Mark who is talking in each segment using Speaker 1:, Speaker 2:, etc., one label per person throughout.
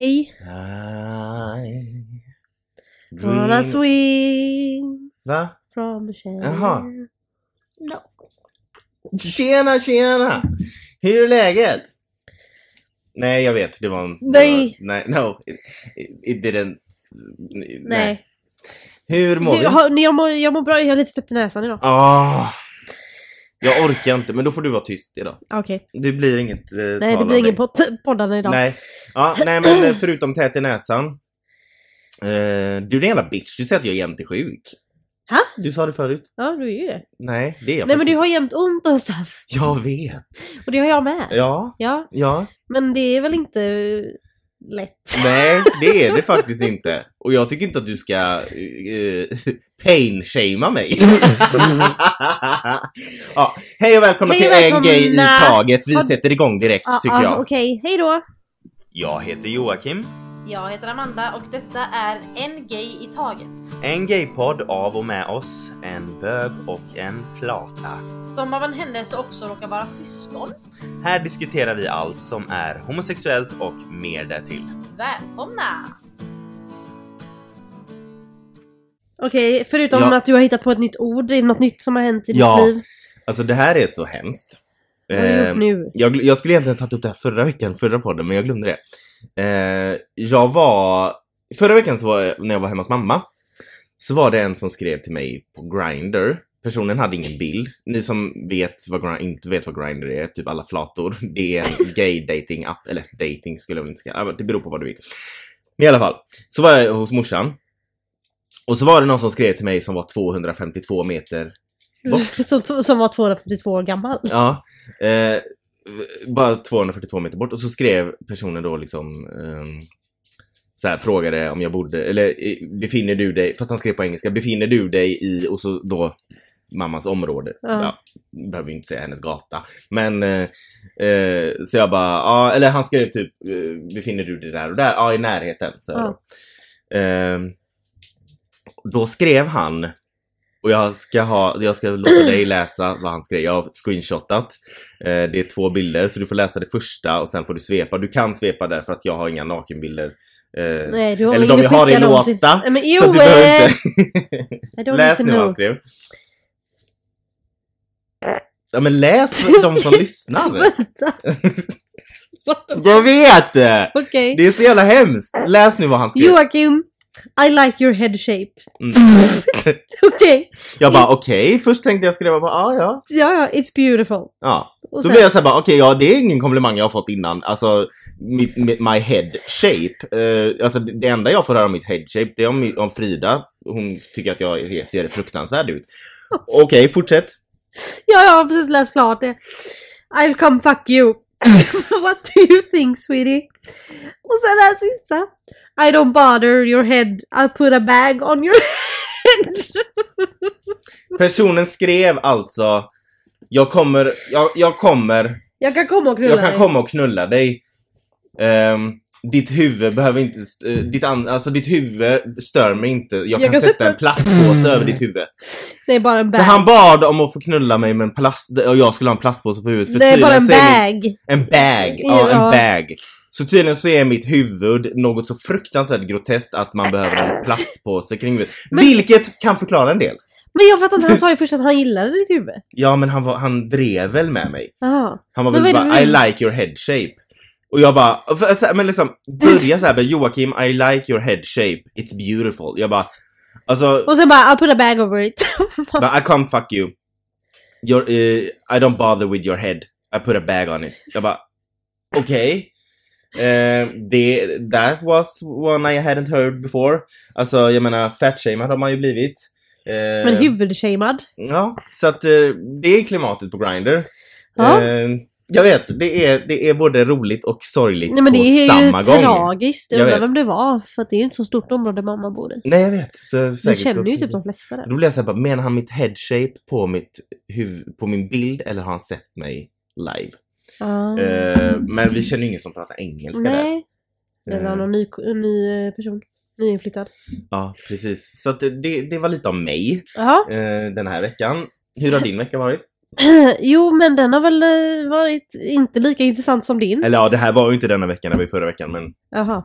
Speaker 1: Hej.
Speaker 2: I
Speaker 1: Wanna
Speaker 2: dream...
Speaker 1: swing
Speaker 2: Va?
Speaker 1: from a shell.
Speaker 2: Jaha.
Speaker 1: No.
Speaker 2: Tjena, tjena! Hur är läget? Nej, jag vet. Det var en...
Speaker 1: Nej.
Speaker 2: Det var, nej, no. It, it didn't... Nej.
Speaker 1: Nej.
Speaker 2: Hur mår
Speaker 1: Nej.
Speaker 2: du?
Speaker 1: Jag, har- nej, jag, mår, jag mår bra, jag har lite täppt i näsan idag.
Speaker 2: Ah, jag orkar inte, men då får du vara tyst idag.
Speaker 1: Ah, Okej.
Speaker 2: Det blir inget eh,
Speaker 1: Nej, det
Speaker 2: tal av
Speaker 1: blir
Speaker 2: dig.
Speaker 1: ingen pod- poddande idag.
Speaker 2: Nej. Ja, nej, men eh, förutom tät i näsan. Eh, du är en jävla bitch. Du säger att jag är jämt är sjuk.
Speaker 1: Ha?
Speaker 2: Du sa det förut.
Speaker 1: Ja, du är ju det.
Speaker 2: Nej, det är jag
Speaker 1: Nej, men
Speaker 2: faktiskt
Speaker 1: du har jämt ont någonstans.
Speaker 2: inte. Jag vet.
Speaker 1: Och det har jag med.
Speaker 2: Ja,
Speaker 1: Ja,
Speaker 2: ja.
Speaker 1: men det är väl inte lätt.
Speaker 2: Nej, det är det faktiskt inte. Och jag tycker inte att du ska uh, pain-shamea mig. ja, hej och välkomna
Speaker 1: Hej och
Speaker 2: till en
Speaker 1: välkomna.
Speaker 2: grej i taget. Vi
Speaker 1: Har-
Speaker 2: sätter igång direkt
Speaker 1: Ja,
Speaker 2: tycker
Speaker 1: ja,
Speaker 2: jag.
Speaker 1: Ah, Okej, hej då.
Speaker 2: Jag heter Joakim.
Speaker 1: Jag heter Amanda och detta är En Gay i Taget.
Speaker 2: En gaypodd av och med oss, en bög och en flata.
Speaker 1: Som av en händelse också råkar vara syskon.
Speaker 2: Här diskuterar vi allt som är homosexuellt och mer därtill.
Speaker 1: Välkomna! Okej, förutom
Speaker 2: Ja.
Speaker 1: att du har hittat på ett nytt ord, är det något nytt som har hänt i ditt
Speaker 2: Ja.
Speaker 1: liv?
Speaker 2: Alltså det här är så hemskt.
Speaker 1: Vad har du
Speaker 2: Ehm,
Speaker 1: gjort nu?
Speaker 2: Jag, gl- jag skulle egentligen tagit upp det här förra veckan, förra podden, men jag glömde det. Eh, jag var... Förra veckan så var jag, när jag var hemma hos mamma, så var det en som skrev till mig på Grindr. Personen hade ingen bild. Ni som vet vad, Gri- inte vet vad Grindr är, typ alla flator. Det är en gay dating app, eller dating skulle jag väl inte säga. Ja, men Det beror på vad du vill. Men i alla fall, så var jag hos morsan. Och så var det någon som skrev till mig som var 252 meter bort.
Speaker 1: Som, som var 242 år gammal.
Speaker 2: Ja. Eh, bara 242 meter bort. Och så skrev personen då liksom... ehm, så här, frågade om jag bodde, eller eh, befinner du dig, fast han skrev på engelska, befinner du dig i, och så då mammas område.
Speaker 1: Ja.
Speaker 2: Ja, behöver ju inte säga hennes gata. Men, eh, eh, så jag bara, ja, eller han skrev typ, eh, befinner du dig där och där? Ja, i närheten. Så jag
Speaker 1: Ja.
Speaker 2: då. Ehm, då skrev han, och jag ska, ha, jag ska låta dig läsa vad han skrev. Jag har screenshotat. Eh, det är två bilder, så du får läsa det första och sen får du svepa. Du kan svepa där för att jag har inga nakenbilder. Eh,
Speaker 1: Nej, du har
Speaker 2: Eller
Speaker 1: ingen
Speaker 2: de jag har
Speaker 1: skicka
Speaker 2: är
Speaker 1: dem
Speaker 2: låsta,
Speaker 1: till- Nej, men
Speaker 2: så
Speaker 1: jo,
Speaker 2: att du behöver
Speaker 1: eh,
Speaker 2: inte...
Speaker 1: I don't
Speaker 2: läs
Speaker 1: need
Speaker 2: nu
Speaker 1: to
Speaker 2: vad han
Speaker 1: know.
Speaker 2: skrev. Ja men läs de som lyssnar!
Speaker 1: Vänta.
Speaker 2: Jag vet!
Speaker 1: Okej.
Speaker 2: Det är så jävla hemskt! Läs nu vad han skrev.
Speaker 1: Joakim, I like your head shape.
Speaker 2: Mm.
Speaker 1: Okej,
Speaker 2: Jag bara okej, först tänkte jag skriva bara ah, ja.
Speaker 1: ja ja, it's beautiful.
Speaker 2: ja.
Speaker 1: Och
Speaker 2: Då
Speaker 1: sen,
Speaker 2: blev jag såhär bara okej, ja det är ingen komplimang jag har fått innan. Alltså, mitt, mitt, my head shape. Eh, alltså det det enda jag får höra om mitt head shape, det är om, om Frida. Hon tycker att jag är- ser fruktansvärd ut.
Speaker 1: Alltså.
Speaker 2: Okej, fortsätt.
Speaker 1: Ja, jag har precis läst klart det. I'll come fuck you. What do you think sweetie? Och sen den sista. I don't bother your head. I'll put a bag on your head.
Speaker 2: Personen skrev alltså Jag kommer, jag, jag kommer,
Speaker 1: Jag kan komma och knulla
Speaker 2: jag kan
Speaker 1: dig.
Speaker 2: komma och knulla dig. Ehm, ditt huvud behöver inte, st- eh, ditt, an, alltså ditt huvud stör mig inte. Jag, kan, sätta, en plastpåse över ditt huvud.
Speaker 1: Nej, bara en
Speaker 2: Så
Speaker 1: bag.
Speaker 2: han bad om att få knulla mig med en plast, och jag skulle ha en plastpåse på huvudet. För
Speaker 1: Nej, bara
Speaker 2: tydligen
Speaker 1: en
Speaker 2: så är
Speaker 1: bag.
Speaker 2: Mitt, en bag, ja,
Speaker 1: Ja.
Speaker 2: en bag. Så tydligen så är mitt huvud något så fruktansvärt groteskt att man behöver en plastpåse kring huvudet.
Speaker 1: Men-
Speaker 2: Vilket kan förklara en del.
Speaker 1: Men jag fattar inte, han sa ju först att han gillade ditt huvud.
Speaker 2: Ja men han, var, han drev väl med mig.
Speaker 1: Jaha.
Speaker 2: Han var
Speaker 1: Men
Speaker 2: väl
Speaker 1: vad är det
Speaker 2: bara I
Speaker 1: för-
Speaker 2: like your head shape. Och jag bara, för, så här, men liksom börja såhär Joakim I like your head shape, it's beautiful. Jag bara, alltså,
Speaker 1: Och sen bara I'll put a bag over it.
Speaker 2: but I can't fuck you. Your, eh, I don't bother with your head, I put a bag on it. Jag bara, okej. Eh, det, that was one I hadn't heard before. Alltså jag menar fatshamad har man ju blivit. Eh,
Speaker 1: Men huvudshamead.
Speaker 2: Ja, så att eh, det är klimatet på Grindr.
Speaker 1: Ja.
Speaker 2: Eh, jag vet, det är, det är både roligt och sorgligt
Speaker 1: Nej men det
Speaker 2: på
Speaker 1: är ju
Speaker 2: samma gång.
Speaker 1: tragiskt. Jag
Speaker 2: Jag
Speaker 1: undrar
Speaker 2: vet.
Speaker 1: vem det var. För att det är inte så stort område mamma bor i.
Speaker 2: Nej, jag vet. Så
Speaker 1: Vi
Speaker 2: säkert
Speaker 1: känner ju
Speaker 2: också-
Speaker 1: typ de flesta där.
Speaker 2: Då blir jag såhär, bara, menar han mitt headshape på, mitt huv- på min bild eller har han sett mig live?
Speaker 1: Ah.
Speaker 2: Eh, men vi känner ju ingen som pratar engelska där.
Speaker 1: Nej. Det var
Speaker 2: Eh.
Speaker 1: någon ny, ny eh, person. Nyinflyttad.
Speaker 2: Ja, precis. Så att det, det var lite om mig
Speaker 1: Jaha.
Speaker 2: eh, den här veckan. Hur har din vecka varit?
Speaker 1: jo, men den har väl eh, varit inte lika intressant som din.
Speaker 2: Eller ja, det här var ju inte denna veckan, det var ju förra veckan, men
Speaker 1: Jaha.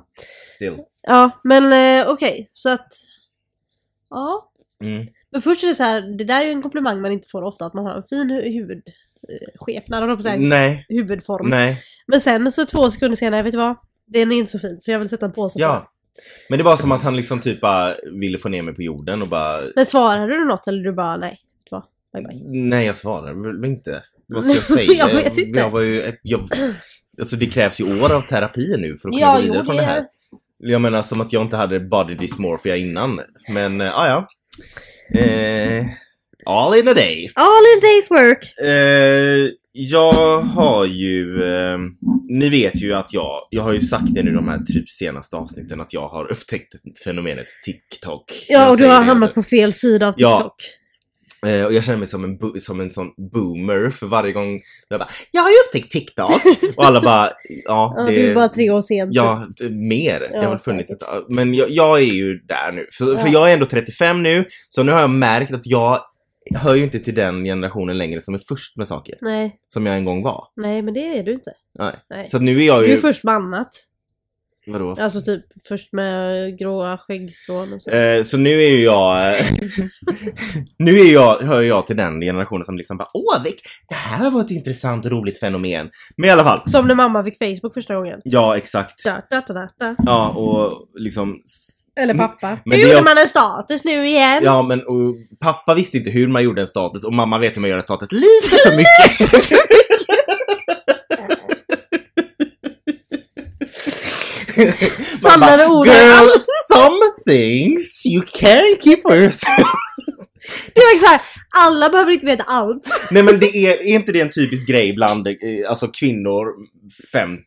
Speaker 2: still.
Speaker 1: Ja, men eh, okej, så att... Ja.
Speaker 2: Mm.
Speaker 1: Men först är det så här, det där är ju en komplimang man inte får ofta, att man har en fin hu- huvudskepnad, höll jag på att säga.
Speaker 2: Nej,
Speaker 1: Huvudform.
Speaker 2: nej,
Speaker 1: Men sen så två sekunder senare, vet du vad? Den är inte så fin, så jag vill sätta en påse på den.
Speaker 2: ja. Men det var som att han liksom typ bara ville få ner mig på jorden och bara
Speaker 1: Men svarade du något eller du bara nej? Vet du vad? Bye bye.
Speaker 2: Nej, jag svarar väl inte. Vad ska jag
Speaker 1: Nej,
Speaker 2: säga?
Speaker 1: jag vet inte.
Speaker 2: Jag var ju, jag, alltså det krävs ju år av terapi nu för att kunna
Speaker 1: Ja,
Speaker 2: gå vidare
Speaker 1: jo,
Speaker 2: från
Speaker 1: det-
Speaker 2: det... här. Jag menar som att jag inte hade body dysmorphia innan. Men äh, ja. Eh, all in a day.
Speaker 1: All in a day's work!
Speaker 2: Eh, jag har ju, eh, ni vet ju att jag, jag har ju sagt det nu de här typ senaste avsnitten att jag har upptäckt fenomenet TikTok. Jag
Speaker 1: Ja, och du
Speaker 2: säger
Speaker 1: har
Speaker 2: det-
Speaker 1: hamnat på fel sida av
Speaker 2: Ja.
Speaker 1: TikTok.
Speaker 2: Eh, och jag känner mig som en, bo- som en sån boomer för varje gång jag bara “Jag har ju upptäckt TikTok” och alla bara “Ja,
Speaker 1: Ja,
Speaker 2: det,
Speaker 1: Du är bara tre år typ. sen.
Speaker 2: Ja, t- mer.
Speaker 1: Ja,
Speaker 2: det har väl funnits ett, Men jag, jag är ju där nu. För, för
Speaker 1: Ja.
Speaker 2: jag är ändå 35 nu, så nu har jag märkt att jag hör ju inte till den generationen längre som är först med saker,
Speaker 1: Nej,
Speaker 2: som jag en gång var.
Speaker 1: nej men det är du inte.
Speaker 2: Nej.
Speaker 1: Nej.
Speaker 2: Så att nu är jag
Speaker 1: Du är
Speaker 2: ju...
Speaker 1: först med annat.
Speaker 2: Vadå?
Speaker 1: Alltså typ först med gråa skäggstrån och så.
Speaker 2: Eh, så nu är ju jag... nu är jag, hör jag till den generationen som liksom bara “Åh, vilk- det här var ett intressant och roligt fenomen”. Men i alla fall.
Speaker 1: Som när mamma fick Facebook första gången.
Speaker 2: Ja, exakt.
Speaker 1: Da, da, da, da, da.
Speaker 2: Ja, och liksom...
Speaker 1: Eller pappa.
Speaker 2: men
Speaker 1: nu
Speaker 2: det är
Speaker 1: gjorde
Speaker 2: också-
Speaker 1: man en status nu igen!
Speaker 2: Ja, men och pappa visste inte hur man gjorde en status och mamma vet hur man gör en status lite för mycket. Man
Speaker 1: Samlade
Speaker 2: bara,
Speaker 1: orden.
Speaker 2: Girl, some things you can keep for yourself.
Speaker 1: Det var exakt så här, alla behöver inte veta allt.
Speaker 2: Nej men det är, är inte det en typisk grej bland eh, alltså kvinnor 50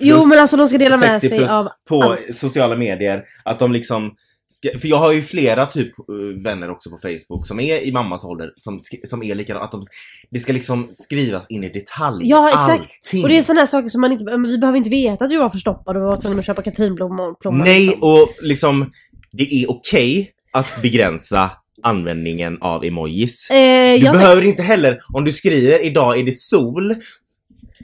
Speaker 1: Jo men alltså de ska dela med
Speaker 2: 60
Speaker 1: sig
Speaker 2: plus.
Speaker 1: av...
Speaker 2: på
Speaker 1: Allt.
Speaker 2: sociala medier. Att de liksom ska, för jag har ju flera typ eh, vänner också på Facebook som är i mammas ålder som, sk- som är likadana. Att de, det ska liksom skrivas in i detalj.
Speaker 1: Ja, exakt.
Speaker 2: Allting.
Speaker 1: Och det är sådana här saker som man inte... men Vi behöver inte veta att du var förstoppad och var tvungen att köpa katrinblommor. plommon,
Speaker 2: Nej,
Speaker 1: liksom.
Speaker 2: och liksom det är okej att begränsa användningen av emojis.
Speaker 1: Eh,
Speaker 2: Du
Speaker 1: jag
Speaker 2: behöver inte heller, om du skriver idag är det sol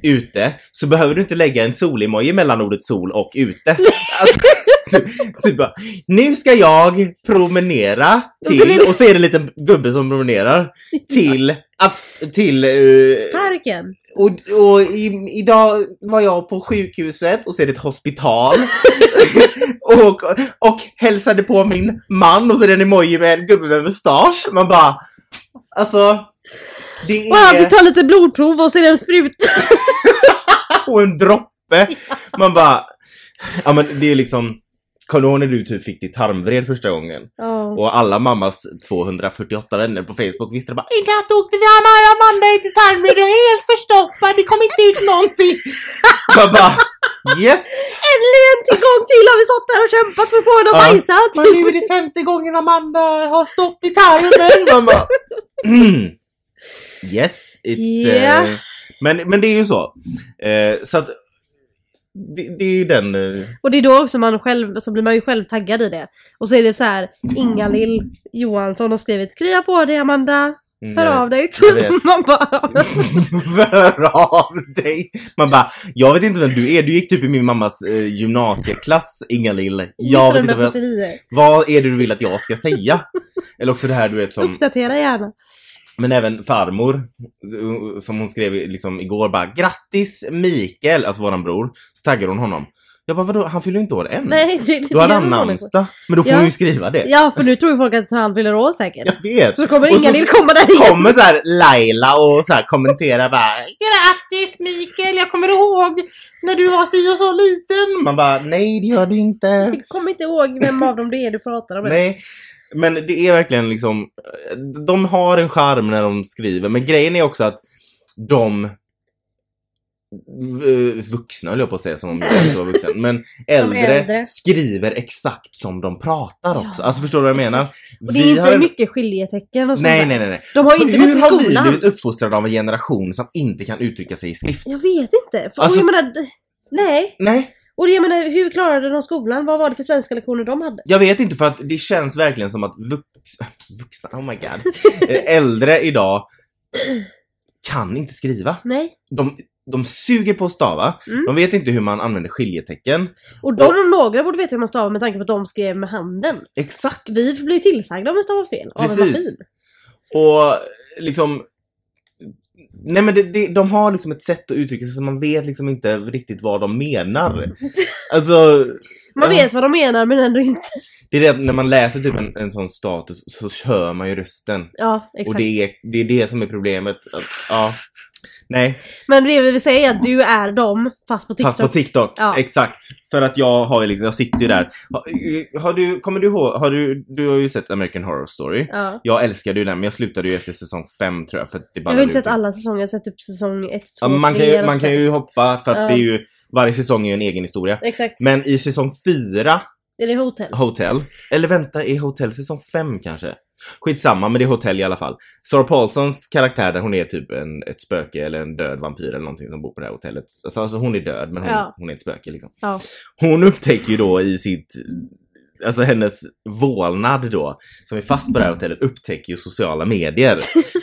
Speaker 2: ute, så behöver du inte lägga en sol-emoji mellan ordet sol och ute. Alltså, typ, typ bara, nu ska jag promenera
Speaker 1: Och så är
Speaker 2: till,
Speaker 1: det-
Speaker 2: och så är det en liten gubbe som promenerar, till, aff- till, eh,
Speaker 1: Parken!
Speaker 2: och, och i, idag var jag på sjukhuset och så är det ett hospital. och, och hälsade på min man och så är det en emoji med en gubbe med mustasch. Man bara, alltså. Det
Speaker 1: Och han fick
Speaker 2: är...
Speaker 1: ta lite blodprov och så är det en sprut.
Speaker 2: Och en droppe. Man bara, ja men det är liksom. Kommer du ihåg när du typ fick ditt tarmvred första gången?
Speaker 1: Ja.
Speaker 2: Och alla mammas 248 vänner på Facebook visste det bara I natt åkte vi Anna och Amanda in till Tarmrud och är helt förstoppad, det kom inte ut någonting. Jag bara yes!
Speaker 1: Ännu en till gång till har vi stått där och kämpat för att få henne att
Speaker 2: Ja.
Speaker 1: bajsa.
Speaker 2: Men nu är det femte gången Amanda har stopp i tarmen. Man bara, mm. Yes, it's... eh,
Speaker 1: Yeah.
Speaker 2: men, men det är ju så. Eh, så att det, det är ju den... eh,
Speaker 1: Och det är då också man själv, så blir man ju själv taggad i det. Och så är det så här, Inga-Lill Johansson har skrivit Krya på dig Amanda, hör av dig.
Speaker 2: jag vet.
Speaker 1: man bara...
Speaker 2: Hör av dig! Man bara, jag vet inte vem du är, du gick typ i min mammas eh, gymnasieklass Ingalill. Jag vet inte vad,
Speaker 1: 1979.
Speaker 2: vad är det du vill att jag ska säga? Eller också det här du vet som,
Speaker 1: Uppdatera gärna.
Speaker 2: Mm. men även farmor, eh, som hon skrev i- liksom igår bara, grattis Mikael, alltså våran bror, så taggar hon honom. Jag bara, vadå han fyller ju inte år än.
Speaker 1: Nej, det, det
Speaker 2: Då hade
Speaker 1: är
Speaker 2: han
Speaker 1: det man håller på.
Speaker 2: namnsdag. Men då får
Speaker 1: Ja.
Speaker 2: hon ju skriva det.
Speaker 1: Ja, för nu tror ju folk att han fyller år säkert.
Speaker 2: Jag vet.
Speaker 1: Så kommer
Speaker 2: Och så-
Speaker 1: Inga-Lill komma där igen.
Speaker 2: kommer så här Laila och så här kommenterar bara Grattis Mikael, jag kommer ihåg när du var si och så liten. Man bara nej det gör du inte.
Speaker 1: Jag kommer inte ihåg vem av dem det är du pratar om.
Speaker 2: Nej. Men det är verkligen liksom, de har en charm när de skriver. Men grejen är också att de v- vuxna höll jag på att säga som om jag inte var vuxen. Men äldre,
Speaker 1: äldre.
Speaker 2: skriver exakt som de pratar också.
Speaker 1: Ja,
Speaker 2: alltså förstår du vad jag menar?
Speaker 1: Och det är
Speaker 2: Vi
Speaker 1: inte
Speaker 2: har-
Speaker 1: mycket skiljetecken och sånt
Speaker 2: Nej,
Speaker 1: där.
Speaker 2: nej, nej, nej.
Speaker 1: De har ju inte
Speaker 2: Hur
Speaker 1: gått i
Speaker 2: har vi
Speaker 1: skolan.
Speaker 2: blivit uppfostrade av en generation som inte kan uttrycka sig i skrift?
Speaker 1: Jag vet inte. För,
Speaker 2: Alltså-
Speaker 1: och jag menar, d- nej.
Speaker 2: Nej,
Speaker 1: Och jag menar, hur klarade de skolan? Vad var det för svenska lektioner de hade?
Speaker 2: jag vet inte för att det känns verkligen som att vux... vuxna, oh my god, Eh, äldre idag kan inte skriva.
Speaker 1: Nej.
Speaker 2: De, de suger på att stava.
Speaker 1: Mm.
Speaker 2: De vet inte hur man använder skiljetecken.
Speaker 1: Och de och några borde veta hur man stavar med tanke på att de skrev med handen.
Speaker 2: Exakt!
Speaker 1: Vi blev tillsagda om vi stavar fel av en
Speaker 2: Precis.
Speaker 1: maskin.
Speaker 2: Och liksom... Nej men det, det, de har liksom ett sätt att uttrycka sig som man vet liksom inte riktigt vad de menar.
Speaker 1: Mm.
Speaker 2: Alltså,
Speaker 1: Man
Speaker 2: Ja.
Speaker 1: vet vad de menar men ändå inte.
Speaker 2: det är det att när man läser typ en, en sån status så hör man ju rösten.
Speaker 1: Ja, exakt.
Speaker 2: Och det är, det är det som är problemet. Att, ja. Nej,
Speaker 1: Men det vi vill säga är att du är dem, fast på TikTok.
Speaker 2: fast på TikTok.
Speaker 1: Ja.
Speaker 2: Exakt. För att jag har ju liksom, jag sitter ju där. eh, Har, har du, kommer du ihåg, har du, du har ju sett American Horror Story.
Speaker 1: Ja.
Speaker 2: Jag älskade ju den men jag slutade ju efter säsong 5 tror jag för att det
Speaker 1: Jag har
Speaker 2: ballade
Speaker 1: inte sett
Speaker 2: ur.
Speaker 1: alla säsonger, jag har sett typ säsong 1, 2,
Speaker 2: Ja, men man, kan ju, man kan ju hoppa för att
Speaker 1: Ja.
Speaker 2: det är ju, varje säsong är ju en egen historia.
Speaker 1: Exakt.
Speaker 2: Men i säsong 4,
Speaker 1: Är det hotell?
Speaker 2: Hotel, eller vänta, är Hotel säsong 5 kanske? Skitsamma, men det är Hotel i alla fall. Sara Paulsons karaktär där hon är typ en, ett spöke eller en död vampyr eller någonting som bor på det här hotellet. Alltså, alltså hon är död men hon,
Speaker 1: Ja.
Speaker 2: hon är ett spöke liksom.
Speaker 1: Ja.
Speaker 2: Hon upptäcker ju då i sitt, alltså hennes vålnad då, som är fast på det här hotellet, upptäcker ju sociala medier.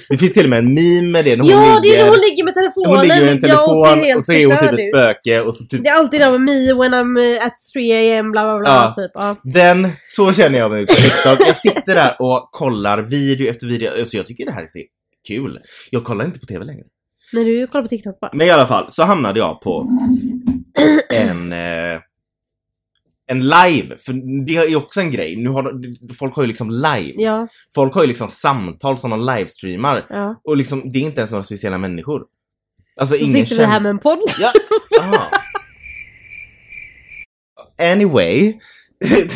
Speaker 2: Det finns till och med en meme med det när hon
Speaker 1: ja, det är
Speaker 2: ligger-
Speaker 1: hon ligger med telefonen!
Speaker 2: hon ligger med en
Speaker 1: Ja,
Speaker 2: telefon
Speaker 1: och ser helt
Speaker 2: och så är hon typ
Speaker 1: förstörd
Speaker 2: ett
Speaker 1: ut.
Speaker 2: spöke och så typ
Speaker 1: Det är alltid det med me when I'm eh, at 3 am bla bla bla
Speaker 2: Ja.
Speaker 1: typ. Ja.
Speaker 2: den, så känner jag mig på TikTok. Jag sitter där och kollar video efter video. Alltså jag tycker det här är så kul. Jag kollar inte på TV längre.
Speaker 1: När du kollar på TikTok bara.
Speaker 2: Men i alla fall så hamnade jag på en eh, en live, för det är också en grej. Nu har de- folk har ju liksom live.
Speaker 1: Ja,
Speaker 2: Folk har ju liksom samtal som de livestreamar
Speaker 1: ja.
Speaker 2: och liksom det är inte ens några speciella människor. Alltså
Speaker 1: Så
Speaker 2: ingen
Speaker 1: sitter vi
Speaker 2: känner
Speaker 1: här med en podd.
Speaker 2: Ja. Aha. Anyway.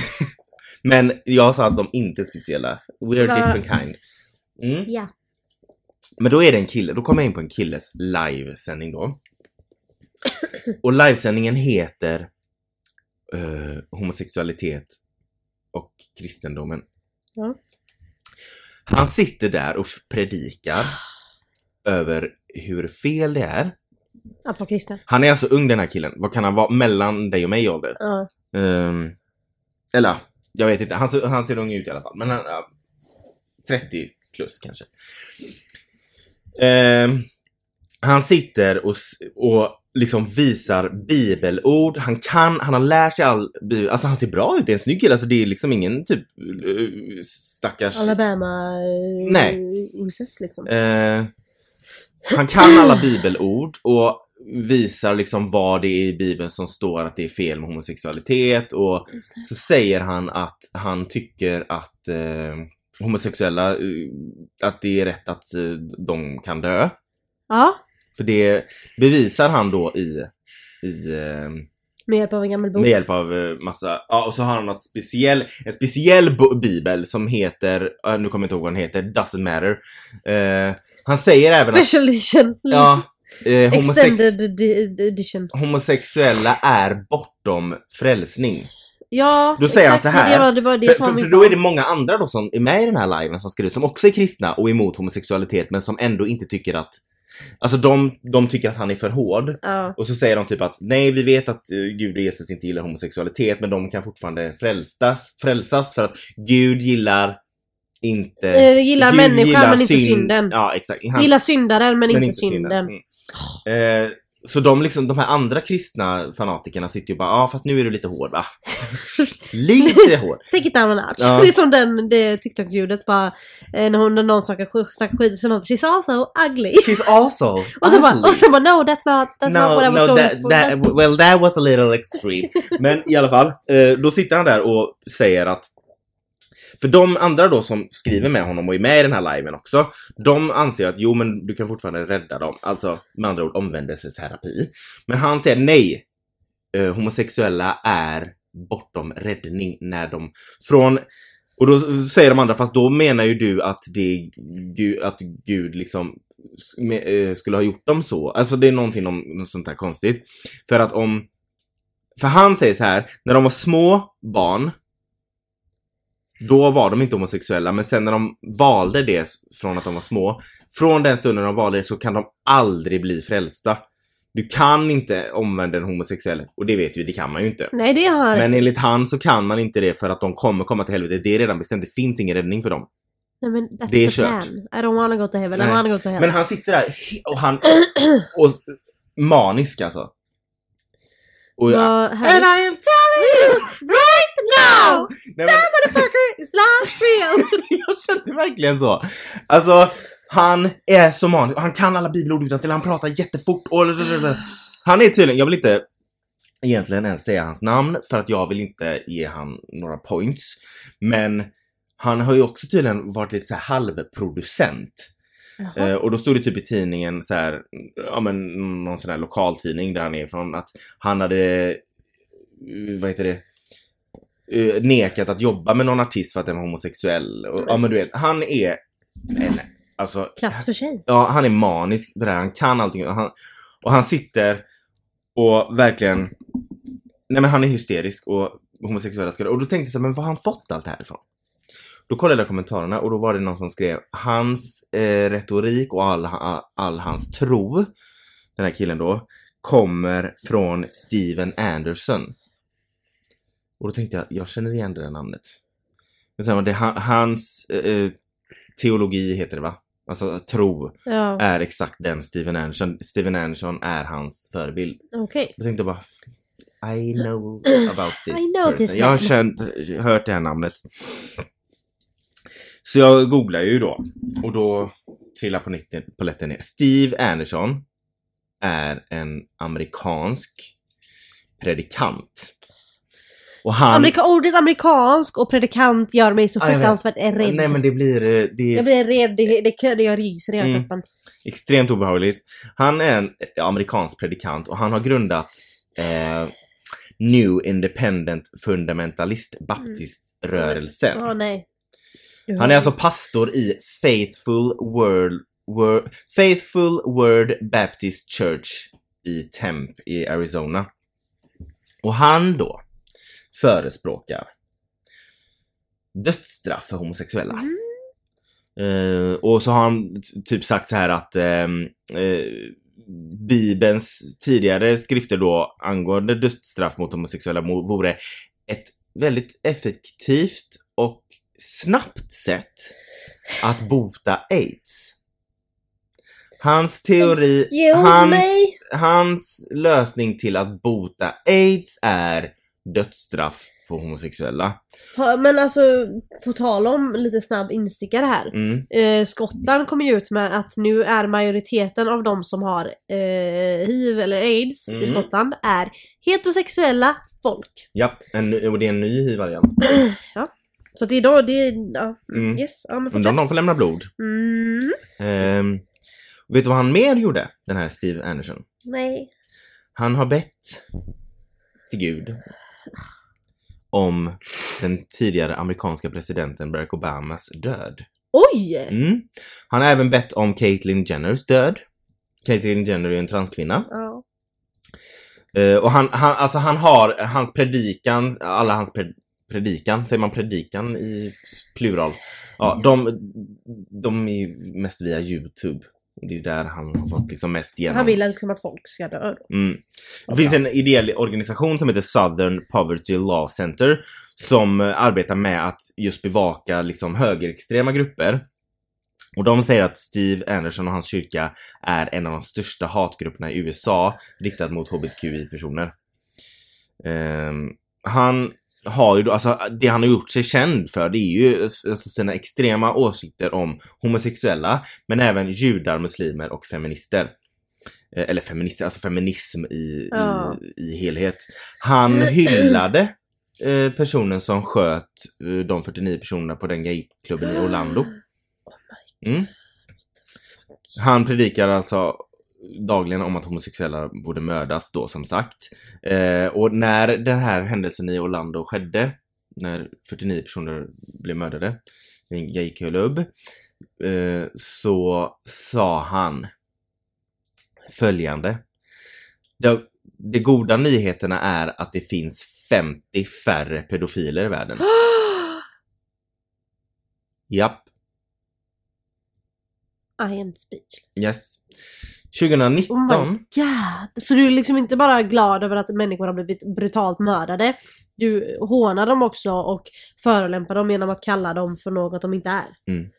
Speaker 2: Men jag sa att de inte är speciella. We're
Speaker 1: Va?
Speaker 2: different kind. Mm.
Speaker 1: Ja.
Speaker 2: Men då är det en kille, då kommer jag in på en killes livesändning då. Och livesändningen heter eh, Homosexualitet och kristendomen.
Speaker 1: Ja.
Speaker 2: Han sitter där och f- predikar över hur fel det är
Speaker 1: Att vara kristen.
Speaker 2: han är alltså ung den här killen. Vad kan han vara? Mellan dig och mig i ålder?
Speaker 1: Ja.
Speaker 2: Ehm, eller ja, jag vet inte. Han, ser- han ser ung ut i alla fall. Men han, ja, 30 plus kanske. Ehm, han sitter och, s- och liksom visar bibelord. Han kan, han har lärt sig all bibel. Alltså han ser bra ut. Det är en snygg kille. Alltså det är liksom ingen typ eh, stackars...
Speaker 1: Alabama eh,
Speaker 2: Nej.
Speaker 1: incest liksom.
Speaker 2: Eh, han kan alla bibelord och visar liksom vad det är i bibeln som står att det är fel med homosexualitet och så säger han att han tycker att eh, homosexuella, eh, att det är rätt att eh, de kan dö.
Speaker 1: Ja,
Speaker 2: För det bevisar han då i, i eh,
Speaker 1: med hjälp av en gammal bok.
Speaker 2: med hjälp av eh, massa, ja och så har han något speciell, en speciell bo- bibel som heter, eh, nu kommer jag inte ihåg vad den heter, doesn't matter. Eh, han säger även att
Speaker 1: Special edition.
Speaker 2: Ja. Eh, homosex-
Speaker 1: Extended edi- edition.
Speaker 2: homosexuella är bortom frälsning.
Speaker 1: Ja,
Speaker 2: Då säger han så här.
Speaker 1: Ja, det var det
Speaker 2: För,
Speaker 1: som var
Speaker 2: för,
Speaker 1: min
Speaker 2: för då är
Speaker 1: plan.
Speaker 2: det många andra då som är med i den här liven som skriver, som också är kristna och emot homosexualitet men som ändå inte tycker att, alltså de, de tycker att han är för hård.
Speaker 1: Ja.
Speaker 2: Och så säger de typ att nej, vi vet att eh, Gud och Jesus inte gillar homosexualitet men de kan fortfarande frälsas, frälsas för att Gud gillar inte...
Speaker 1: Eh, gillar
Speaker 2: Gud
Speaker 1: människan
Speaker 2: gillar
Speaker 1: men inte
Speaker 2: synd-
Speaker 1: synden.
Speaker 2: Ja, exakt. Han-
Speaker 1: Gillar syndaren men,
Speaker 2: men
Speaker 1: inte synden.
Speaker 2: Mm. Eh, så de, liksom, de här andra kristna fanatikerna sitter ju och bara, ja ah, fast nu är du lite hård va? lite hård.
Speaker 1: Take it down a notch.
Speaker 2: Ja.
Speaker 1: Det är som den, det TikTok-ljudet bara. eh, När hon, när någon snackar sk- snackar skit så någon She's also ugly.
Speaker 2: She's also
Speaker 1: Och så bara,
Speaker 2: ugly."
Speaker 1: och så bara no that's not, that's not what I was going
Speaker 2: that,
Speaker 1: for.
Speaker 2: that,
Speaker 1: That's-
Speaker 2: well that was a little extreme. Men i alla fall, eh, då sitter han där och säger att för de andra då som skriver med honom och är med i den här liven också, de anser att jo men du kan fortfarande rädda dem. Alltså med andra ord omvändelseterapi. Men han säger nej. Eh, homosexuella är bortom räddning när de från och då säger de andra, fast då menar ju du att det är Gud, att Gud liksom s- me- eh, skulle ha gjort dem så. Alltså det är någonting om något sånt här konstigt. För att om, för han säger så här, när de var små barn, då var de inte homosexuella, men sen när de valde det s- från att de var små, från den stunden de valde det så kan de aldrig bli frälsta. Du kan inte omvända en homosexuell, och det vet vi, det kan man ju inte.
Speaker 1: Nej det har
Speaker 2: Men enligt han så kan man inte det för att de kommer komma till helvetet. Det är redan bestämt. Det finns ingen räddning för dem.
Speaker 1: Nej men that's
Speaker 2: Det är
Speaker 1: the
Speaker 2: kört.
Speaker 1: plan. I don't wanna go to heaven, I
Speaker 2: Nej.
Speaker 1: wanna go to hell.
Speaker 2: Men han sitter där he- och han... Och, s- manisk alltså. Och jag,
Speaker 1: Vad
Speaker 2: And
Speaker 1: härligt.
Speaker 2: I am telling you right now! Nej, men,
Speaker 1: Motherfucker, it's not real!
Speaker 2: jag kände verkligen så. Alltså, han är så manisk. Han kan alla bibelord utantill, han pratar jättefort och... Han är tydligen, jag vill inte egentligen ens säga hans namn för att jag vill inte ge han några points. Men han har ju också tydligen varit lite så här halvproducent.
Speaker 1: Jaha.
Speaker 2: Eh, och då stod det typ i tidningen så här, ja men någon sån här lokaltidning där han är ifrån att han hade, eh, vad heter det, eh, nekat att jobba med någon artist för att den var homosexuell. Och, ja men du vet, han är en, alltså,
Speaker 1: Klass för sig.
Speaker 2: ja han är manisk på det här, han kan allting. Och han, och han sitter och verkligen, nej men han är hysterisk och homosexuella ska Och då tänkte jag så här, men var har han fått allt det här ifrån? Då kollade jag kommentarerna och då var det någon som skrev hans eh, retorik och all, ha- all hans tro, den här killen då, kommer från Steven Anderson. Och då tänkte jag, jag känner igen det där namnet. Men sen var det ha- hans eh, eh, teologi heter det va? Alltså tro
Speaker 1: Ja,
Speaker 2: är exakt den Steven Anderson, Steven Anderson är hans förebild.
Speaker 1: okej.
Speaker 2: Jag tänkte bara I know about this
Speaker 1: I know this
Speaker 2: person. Jag har känt, hört det här namnet. Så jag googlar ju då och då trillar på nitt- polletten ner. Steve Anderson är en amerikansk predikant. Och han...
Speaker 1: Amerika, ordet amerikansk och predikant gör mig så
Speaker 2: Ja, jag vet.
Speaker 1: fruktansvärt rädd.
Speaker 2: Nej men det blir... eh, Det är
Speaker 1: Jag blir rädd, det, det, det, jag ryser i hela
Speaker 2: Mm.
Speaker 1: kroppen.
Speaker 2: Extremt obehagligt. Han är en eh, amerikansk predikant och han har grundat eh, New Independent Fundamentalist Baptiströrelsen.
Speaker 1: Åh nej. Du
Speaker 2: Han
Speaker 1: hör.
Speaker 2: är alltså pastor i Faithful Word, Word, Faithful Word Baptist Church i Temp i Arizona. Och han då förespråkar dödsstraff för homosexuella.
Speaker 1: Mm.
Speaker 2: Eh, och så har han t- typ sagt så här att ehm, eh, Bibelns tidigare skrifter då angående dödsstraff mot homosexuella mo- vore ett väldigt effektivt och snabbt sätt att bota aids. Hans teori,
Speaker 1: Excuse
Speaker 2: hans,
Speaker 1: me?
Speaker 2: hans lösning till att bota aids är dödsstraff på homosexuella.
Speaker 1: Ha- Men alltså, på tal om lite snabb instickare här.
Speaker 2: Mm.
Speaker 1: Eh, Skottland kommer ju ut med att nu är majoriteten av de som har eh, hiv eller aids i
Speaker 2: Mm.
Speaker 1: Skottland är heterosexuella folk.
Speaker 2: Ja, en, ny- och det är en ny HIV-variant.
Speaker 1: Så att det är då, det är, ja,
Speaker 2: Mm.
Speaker 1: yes, ja men
Speaker 2: Undrar
Speaker 1: fortsätt.
Speaker 2: om de får lämna blod.
Speaker 1: Mm,
Speaker 2: Ehm, vet du vad han mer gjorde, den här Steve Anderson?
Speaker 1: nej.
Speaker 2: Han har bett till Gud om den tidigare amerikanska presidenten Barack Obamas död.
Speaker 1: Oj!
Speaker 2: Mm. Han har även bett om Caitlyn Jenners död. Caitlyn Jenner är en transkvinna.
Speaker 1: Ja.
Speaker 2: Eh, och han, han, alltså han har, hans predikan, alla hans pre, predikan, säger man predikan i plural?
Speaker 1: Mm.
Speaker 2: Ja, de, de är ju mest via YouTube. Och det är där han har fått liksom mest genom.
Speaker 1: Han vill liksom att folk ska dö. då.
Speaker 2: Mm. Det finns en ideell organisation som heter Southern Poverty Law Center som eh, arbetar med att just bevaka liksom högerextrema grupper. Och de säger att Steve Anderson och hans kyrka är en av de största hatgrupperna i USA riktad mot hbtqi-personer. Ehm, han har ju då, alltså det han har gjort sig känd för det är ju alltså, sina extrema åsikter om homosexuella men även judar, muslimer och feminister. Eh, Eller feminister, alltså feminism i,
Speaker 1: Ja.
Speaker 2: i, i helhet. Han hyllade eh, personen som sköt eh, de 49 personerna på den gayklubben i Orlando. Mm. Han predikar alltså dagligen om att homosexuella borde mördas då som sagt. Eh, och när den här händelsen i Orlando skedde, när 49 personer blev mördade i en gayklubb, eh, så sa han följande. De, de goda nyheterna är att det finns 50 färre pedofiler i världen. Japp.
Speaker 1: I am speechless.
Speaker 2: Yes. 2019.
Speaker 1: Oh my god. Så du är liksom inte bara glad över att människor har blivit brutalt mördade. Du hånar dem också och förolämpar dem genom att kalla dem för något de inte är.
Speaker 2: Mm.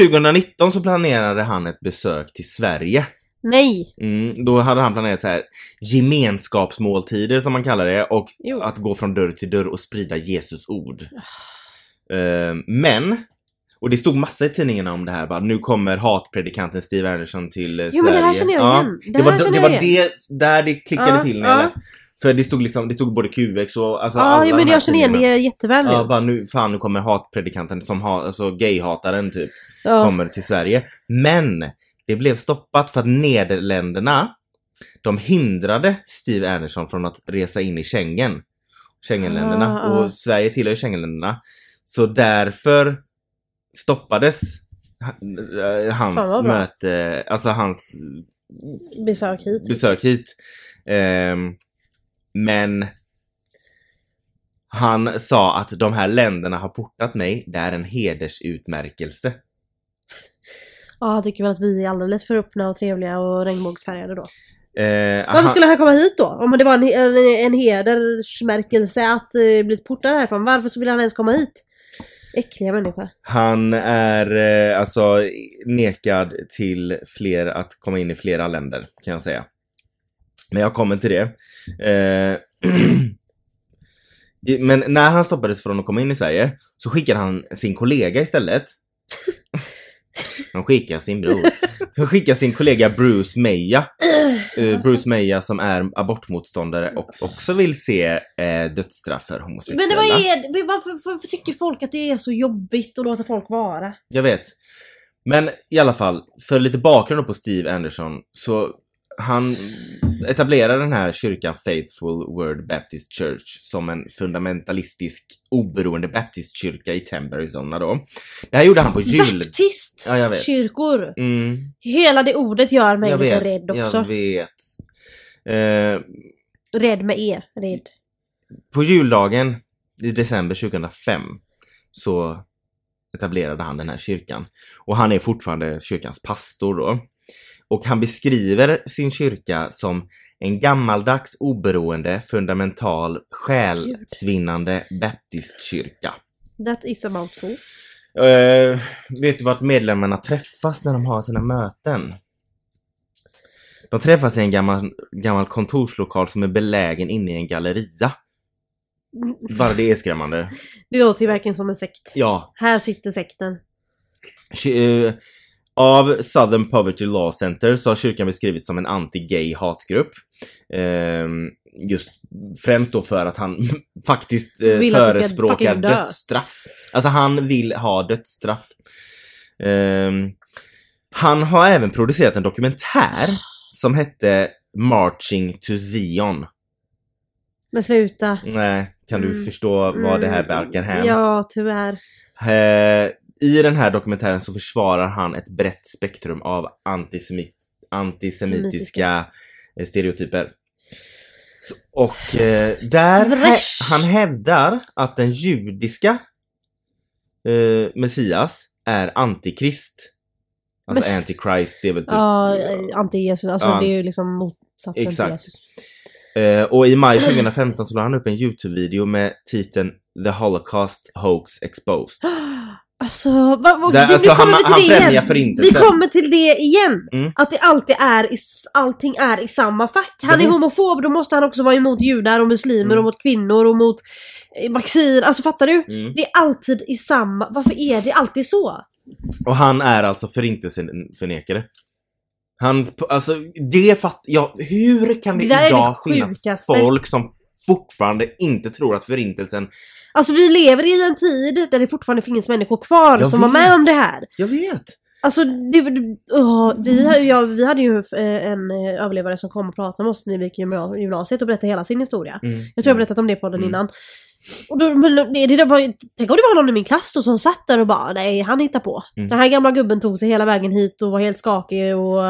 Speaker 2: 2019 så planerade han ett besök till Sverige.
Speaker 1: Nej!
Speaker 2: Mm, då hade han planerat så här gemenskapsmåltider som man kallar det och
Speaker 1: Jo.
Speaker 2: att gå från dörr till dörr och sprida Jesus ord. Eh, men, och det stod massa i tidningarna om det här bara, nu kommer hatpredikanten Steve Anderson till eh,
Speaker 1: Jo men
Speaker 2: Sverige.
Speaker 1: det här känner jag
Speaker 2: Ja.
Speaker 1: igen. Det,
Speaker 2: Det
Speaker 1: här
Speaker 2: var, det,
Speaker 1: känner
Speaker 2: var
Speaker 1: jag igen.
Speaker 2: det där det klickade
Speaker 1: Ja,
Speaker 2: till när
Speaker 1: ja.
Speaker 2: jag läste. För det stod liksom, det stod både QX och alltså
Speaker 1: Ja,
Speaker 2: alla
Speaker 1: jo,
Speaker 2: de
Speaker 1: men
Speaker 2: här
Speaker 1: jag känner igen det
Speaker 2: tidningarna.
Speaker 1: jätteväl nu.
Speaker 2: Ja, bara nu, fan nu kommer hatpredikanten som har, alltså gayhataren typ,
Speaker 1: Ja.
Speaker 2: kommer till Sverige. Men det blev stoppat för att Nederländerna, de hindrade Steve Anderson från att resa in i Schengen. Schengenländerna.
Speaker 1: Ah, ah.
Speaker 2: Och Sverige tillhör Schengenländerna. Så därför stoppades ha- eh,
Speaker 1: Fan,
Speaker 2: hans
Speaker 1: vad bra.
Speaker 2: möte, alltså hans
Speaker 1: Besök hit.
Speaker 2: besök hit. Ehm, men han sa att de här länderna har portat mig, det är en hedersutmärkelse.
Speaker 1: Ja, han tycker väl att vi är alldeles för öppna och trevliga och regnbågsfärgade då.
Speaker 2: Eh,
Speaker 1: Varför
Speaker 2: han-
Speaker 1: skulle han komma hit då? Om det var en, en, en hedersmärkelse att eh, bli portad härifrån. Varför så vill han ens komma hit? Äckliga människor.
Speaker 2: Han är eh, alltså nekad till fler att komma in i flera länder kan jag säga. Men jag kommer till det. Eh, i- Men när han stoppades från att komma in i Sverige så skickade han sin kollega istället. Han skickar sin bror. Han skickar sin kollega Bruce Meja. Eh, Bruce Meja som är abortmotståndare och också vill se eh, dödsstraff för homosexuella.
Speaker 1: Men det var är, varför, varför tycker folk att det är så jobbigt att låta folk vara?
Speaker 2: Jag vet. Men i alla fall, för lite bakgrund då på Steve Anderson så han etablerade den här kyrkan Faithful Word Baptist Church som en fundamentalistisk oberoende baptistkyrka i Tempe, Arizona då. Det här gjorde han på jul...
Speaker 1: Baptist!
Speaker 2: Ja, jag vet.
Speaker 1: Kyrkor!
Speaker 2: Mm,
Speaker 1: Hela det ordet gör mig
Speaker 2: jag
Speaker 1: lite
Speaker 2: vet.
Speaker 1: rädd också.
Speaker 2: Jag vet. Eh,
Speaker 1: Rädd med E. Rädd.
Speaker 2: på juldagen i december 2005 så etablerade han den här kyrkan. Och han är fortfarande kyrkans pastor då. Och han beskriver sin kyrka som en gammaldags oberoende fundamental själsvinnande baptistkyrka.
Speaker 1: That is a mouthful.
Speaker 2: Eh, vet du vart medlemmarna träffas när de har sina möten? De träffas i en gammal, gammal kontorslokal som är belägen inne i en galleria. Bara det är skrämmande.
Speaker 1: Det låter ju verkligen som en sekt.
Speaker 2: Ja,
Speaker 1: Här sitter sekten.
Speaker 2: Ky- eh, Av Southern Poverty Law Center så har kyrkan beskrivits som en anti-gay hatgrupp. Ehm, just främst då för att han faktiskt eh,
Speaker 1: Vill att det ska
Speaker 2: förespråkar
Speaker 1: fucking dö.
Speaker 2: dödsstraff. Alltså han vill ha dödsstraff. Ehm, han har även producerat en dokumentär som hette Marching to Zion.
Speaker 1: Men sluta.
Speaker 2: Nej, kan du
Speaker 1: Mm.
Speaker 2: förstå vad det här Typ.
Speaker 1: Mm.
Speaker 2: verkar hän?
Speaker 1: Ja, tyvärr.
Speaker 2: Eh, I den här dokumentären så försvarar han ett brett spektrum av antisemit, antisemitiska eh, stereotyper. Så, och eh, där hä-
Speaker 1: Fresh.
Speaker 2: han hävdar att den judiska eh, Messias är antikrist. Alltså
Speaker 1: Men-
Speaker 2: antichrist, det är väl typ...
Speaker 1: Ja, anti-Jesus. Alltså
Speaker 2: Ja,
Speaker 1: det är ju liksom motsatsen
Speaker 2: Exakt.
Speaker 1: till Jesus.
Speaker 2: Eh, och i maj 2015 så la han upp en YouTube-video med titeln The Holocaust Hoax Exposed.
Speaker 1: Alltså, vad, vad,
Speaker 2: Det-
Speaker 1: du,
Speaker 2: alltså,
Speaker 1: vi kommer
Speaker 2: han-
Speaker 1: till
Speaker 2: han
Speaker 1: det
Speaker 2: främjar
Speaker 1: igen.
Speaker 2: förintelsen.
Speaker 1: Vi kommer till det igen.
Speaker 2: Mm.
Speaker 1: Att det alltid är i, s- allting är i samma fack.
Speaker 2: Jag
Speaker 1: Han är
Speaker 2: vet.
Speaker 1: homofob, då måste han också vara emot judar och muslimer
Speaker 2: Mm.
Speaker 1: och mot kvinnor och mot eh, vaccin. Alltså fattar du?
Speaker 2: Mm.
Speaker 1: Det är alltid i samma... Varför är det alltid så?
Speaker 2: Och han är alltså förintelsenförnekare. Han, alltså det fatt, ja, hur kan det,
Speaker 1: Det där är
Speaker 2: idag
Speaker 1: det
Speaker 2: finnas
Speaker 1: sjukaste.
Speaker 2: folk som fortfarande inte tror att förintelsen,
Speaker 1: Alltså vi lever i en tid där det fortfarande finns människor kvar
Speaker 2: Jag
Speaker 1: som var med
Speaker 2: vet.
Speaker 1: om det här.
Speaker 2: jag vet.
Speaker 1: Alltså, det, det, åh,
Speaker 2: Mm.
Speaker 1: vi, har- ja, vi hade ju eh, en eh, överlevare som kom och pratade med oss när vi gick i gymna- gymnasiet och berättade hela sin historia. Mm. Jag tror jag berättat om det på den
Speaker 2: Mm.
Speaker 1: innan. Och då, men det, det där var, ju- tänk om det var någon i min klass då som satt där och bara nej han hittar på.
Speaker 2: Mm.
Speaker 1: Den här gamla gubben tog sig hela vägen hit och var helt skakig och,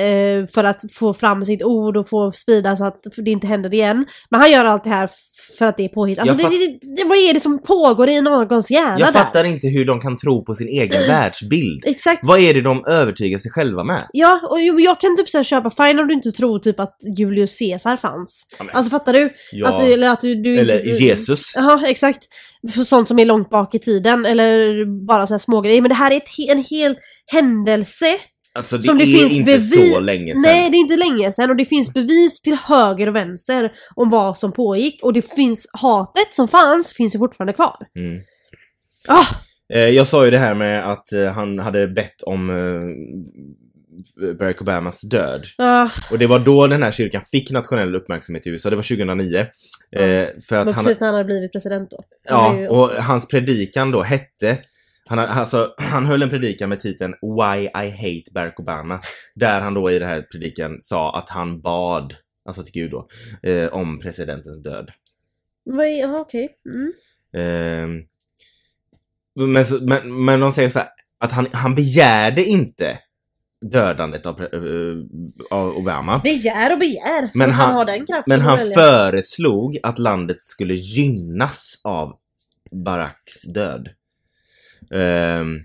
Speaker 1: eh, för att få fram sitt ord och få sprida så att det inte händer igen. Men han gör allt det här f- för att det är påhitt. Alltså,
Speaker 2: Jag
Speaker 1: det, det, det, vad är det som pågår i någons hjärna
Speaker 2: Jag
Speaker 1: där?
Speaker 2: fattar inte hur de kan tro på sin egen världsbild.
Speaker 1: Exakt.
Speaker 2: Vad är det de övertygar sig själva med?
Speaker 1: Ja, och jo, jag kan typ så här köpa fine om du inte tror typ att Julius Caesar fanns.
Speaker 2: Ja, men-
Speaker 1: Alltså fattar du?
Speaker 2: Ja,
Speaker 1: Att, eller att du, du
Speaker 2: eller
Speaker 1: inte...
Speaker 2: Jesus. Precis.
Speaker 1: Ja, exakt. För sånt som är långt bak i tiden eller bara så här smågrejer. Men det här är ett, he- en hel händelse.
Speaker 2: Alltså det,
Speaker 1: Som det
Speaker 2: är
Speaker 1: finns
Speaker 2: inte
Speaker 1: bevis-
Speaker 2: så länge sedan.
Speaker 1: Nej, det är inte länge sedan och det finns bevis till höger och vänster om vad som pågick. Och det finns hatet som fanns finns ju fortfarande kvar.
Speaker 2: Mm.
Speaker 1: Ah,
Speaker 2: Eh, jag sa ju det här med att eh, han hade bett om eh, Barack Obamas död.
Speaker 1: ah,
Speaker 2: Och det var då den här kyrkan fick nationell uppmärksamhet i USA. Det var 2009. Eh, för
Speaker 1: det
Speaker 2: att
Speaker 1: var
Speaker 2: han,
Speaker 1: precis när han hade blivit president då. Det är ju-
Speaker 2: ja, och hans predikan då hette han, har- alltså, han höll en predikan med titeln Why I Hate Barack Obama. Där han då i den här predikan sa att han bad, alltså till Gud då, eh, om presidentens död.
Speaker 1: Vad är- Jaha, okej. Mm.
Speaker 2: Ehm, men, så- men, men de säger så här, att han, han begärde inte dödandet av, pre- eh, av Obama.
Speaker 1: Begär och begär. Så
Speaker 2: Men
Speaker 1: men han,
Speaker 2: han-
Speaker 1: har den kraften
Speaker 2: Men
Speaker 1: att
Speaker 2: han
Speaker 1: välja.
Speaker 2: föreslog att landet skulle gynnas av Baracks död. Ehm,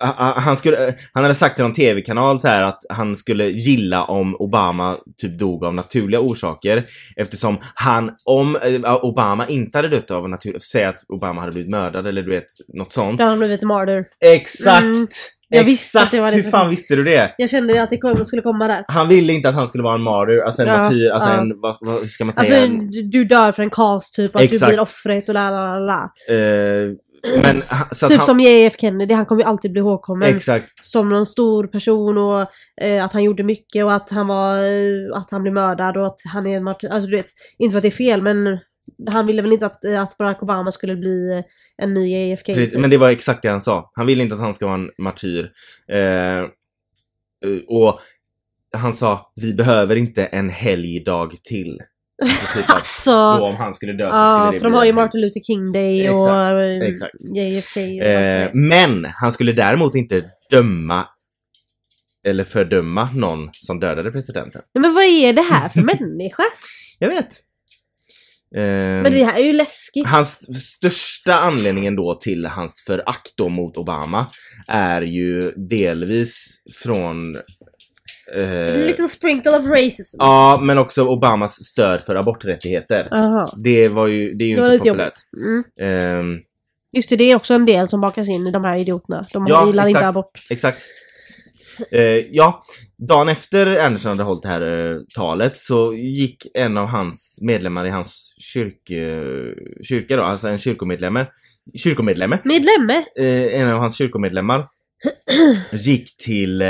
Speaker 2: a- a- han, skulle, eh, han hade sagt till någon tv-kanal så här att han skulle gilla om Obama typ dog av naturliga orsaker eftersom han, om eh, Obama inte hade dött av naturliga, säg att Obama hade blivit mördad eller du vet, något sånt.
Speaker 1: Då har han blivit martyr.
Speaker 2: Exakt!
Speaker 1: Mm. Jag
Speaker 2: Exakt!
Speaker 1: visste att det var det
Speaker 2: Hur
Speaker 1: som-
Speaker 2: fan visste du det?
Speaker 1: Jag kände att det kom, skulle komma där.
Speaker 2: Han ville inte att han skulle vara en martyr, alltså en
Speaker 1: Ja,
Speaker 2: martyr, alltså
Speaker 1: ja.
Speaker 2: en, vad, vad ska man säga?
Speaker 1: Alltså
Speaker 2: en,
Speaker 1: du, du dör för en cause typ, att du
Speaker 2: Exakt.
Speaker 1: blir offret och la la la la.
Speaker 2: eh, men ha- så att
Speaker 1: Typ
Speaker 2: han,
Speaker 1: som JF Kennedy, han kommer ju alltid bli ihågkommen
Speaker 2: Exakt.
Speaker 1: som någon stor person och eh, att han gjorde mycket och att han var, eh, att han blev mördad och att han är en martyr. Alltså du vet, inte för att det är fel men han ville väl inte att, eh, att Barack Obama skulle bli eh, en ny JFK.
Speaker 2: Precis, men det var exakt det han sa. Han ville inte att han ska vara en martyr. Eh, eh, och han sa, vi behöver inte en helgdag till. Alltså typ att då
Speaker 1: alltså!
Speaker 2: om han skulle dö så
Speaker 1: Ja,
Speaker 2: skulle det
Speaker 1: för de
Speaker 2: bli
Speaker 1: har ju
Speaker 2: en helg.
Speaker 1: Martin Luther King Day och
Speaker 2: Exakt,
Speaker 1: eh,
Speaker 2: exakt.
Speaker 1: JFK. Och
Speaker 2: Eh,
Speaker 1: allt det.
Speaker 2: men han skulle däremot inte döma eller fördöma någon som dödade presidenten.
Speaker 1: Nej, men vad är det här för människa?
Speaker 2: Jag vet. Ehm,
Speaker 1: Men det här är ju läskigt.
Speaker 2: Hans största anledningen då till hans förakt då mot Obama är ju delvis från... Eh,
Speaker 1: Little sprinkle of racism.
Speaker 2: Ja, men också Obamas stöd för aborträttigheter.
Speaker 1: Jaha.
Speaker 2: Det var ju, det är ju
Speaker 1: Det var
Speaker 2: inte
Speaker 1: lite
Speaker 2: populärt.
Speaker 1: jobbigt. Mm.
Speaker 2: Ehm,
Speaker 1: Just det, det är också en del som bakas in i de här idioterna. De
Speaker 2: Ja,
Speaker 1: gillar inte
Speaker 2: exakt.
Speaker 1: abort.
Speaker 2: exakt. Eh, ja, dagen efter Anderson hade hållit det här eh, talet så gick en av hans medlemmar i hans kyrk, eh, kyrka då, alltså en kyrkomedlemme, kyrkomedlemme
Speaker 1: Medlemme!
Speaker 2: eh, en av hans kyrkomedlemmar gick till eh,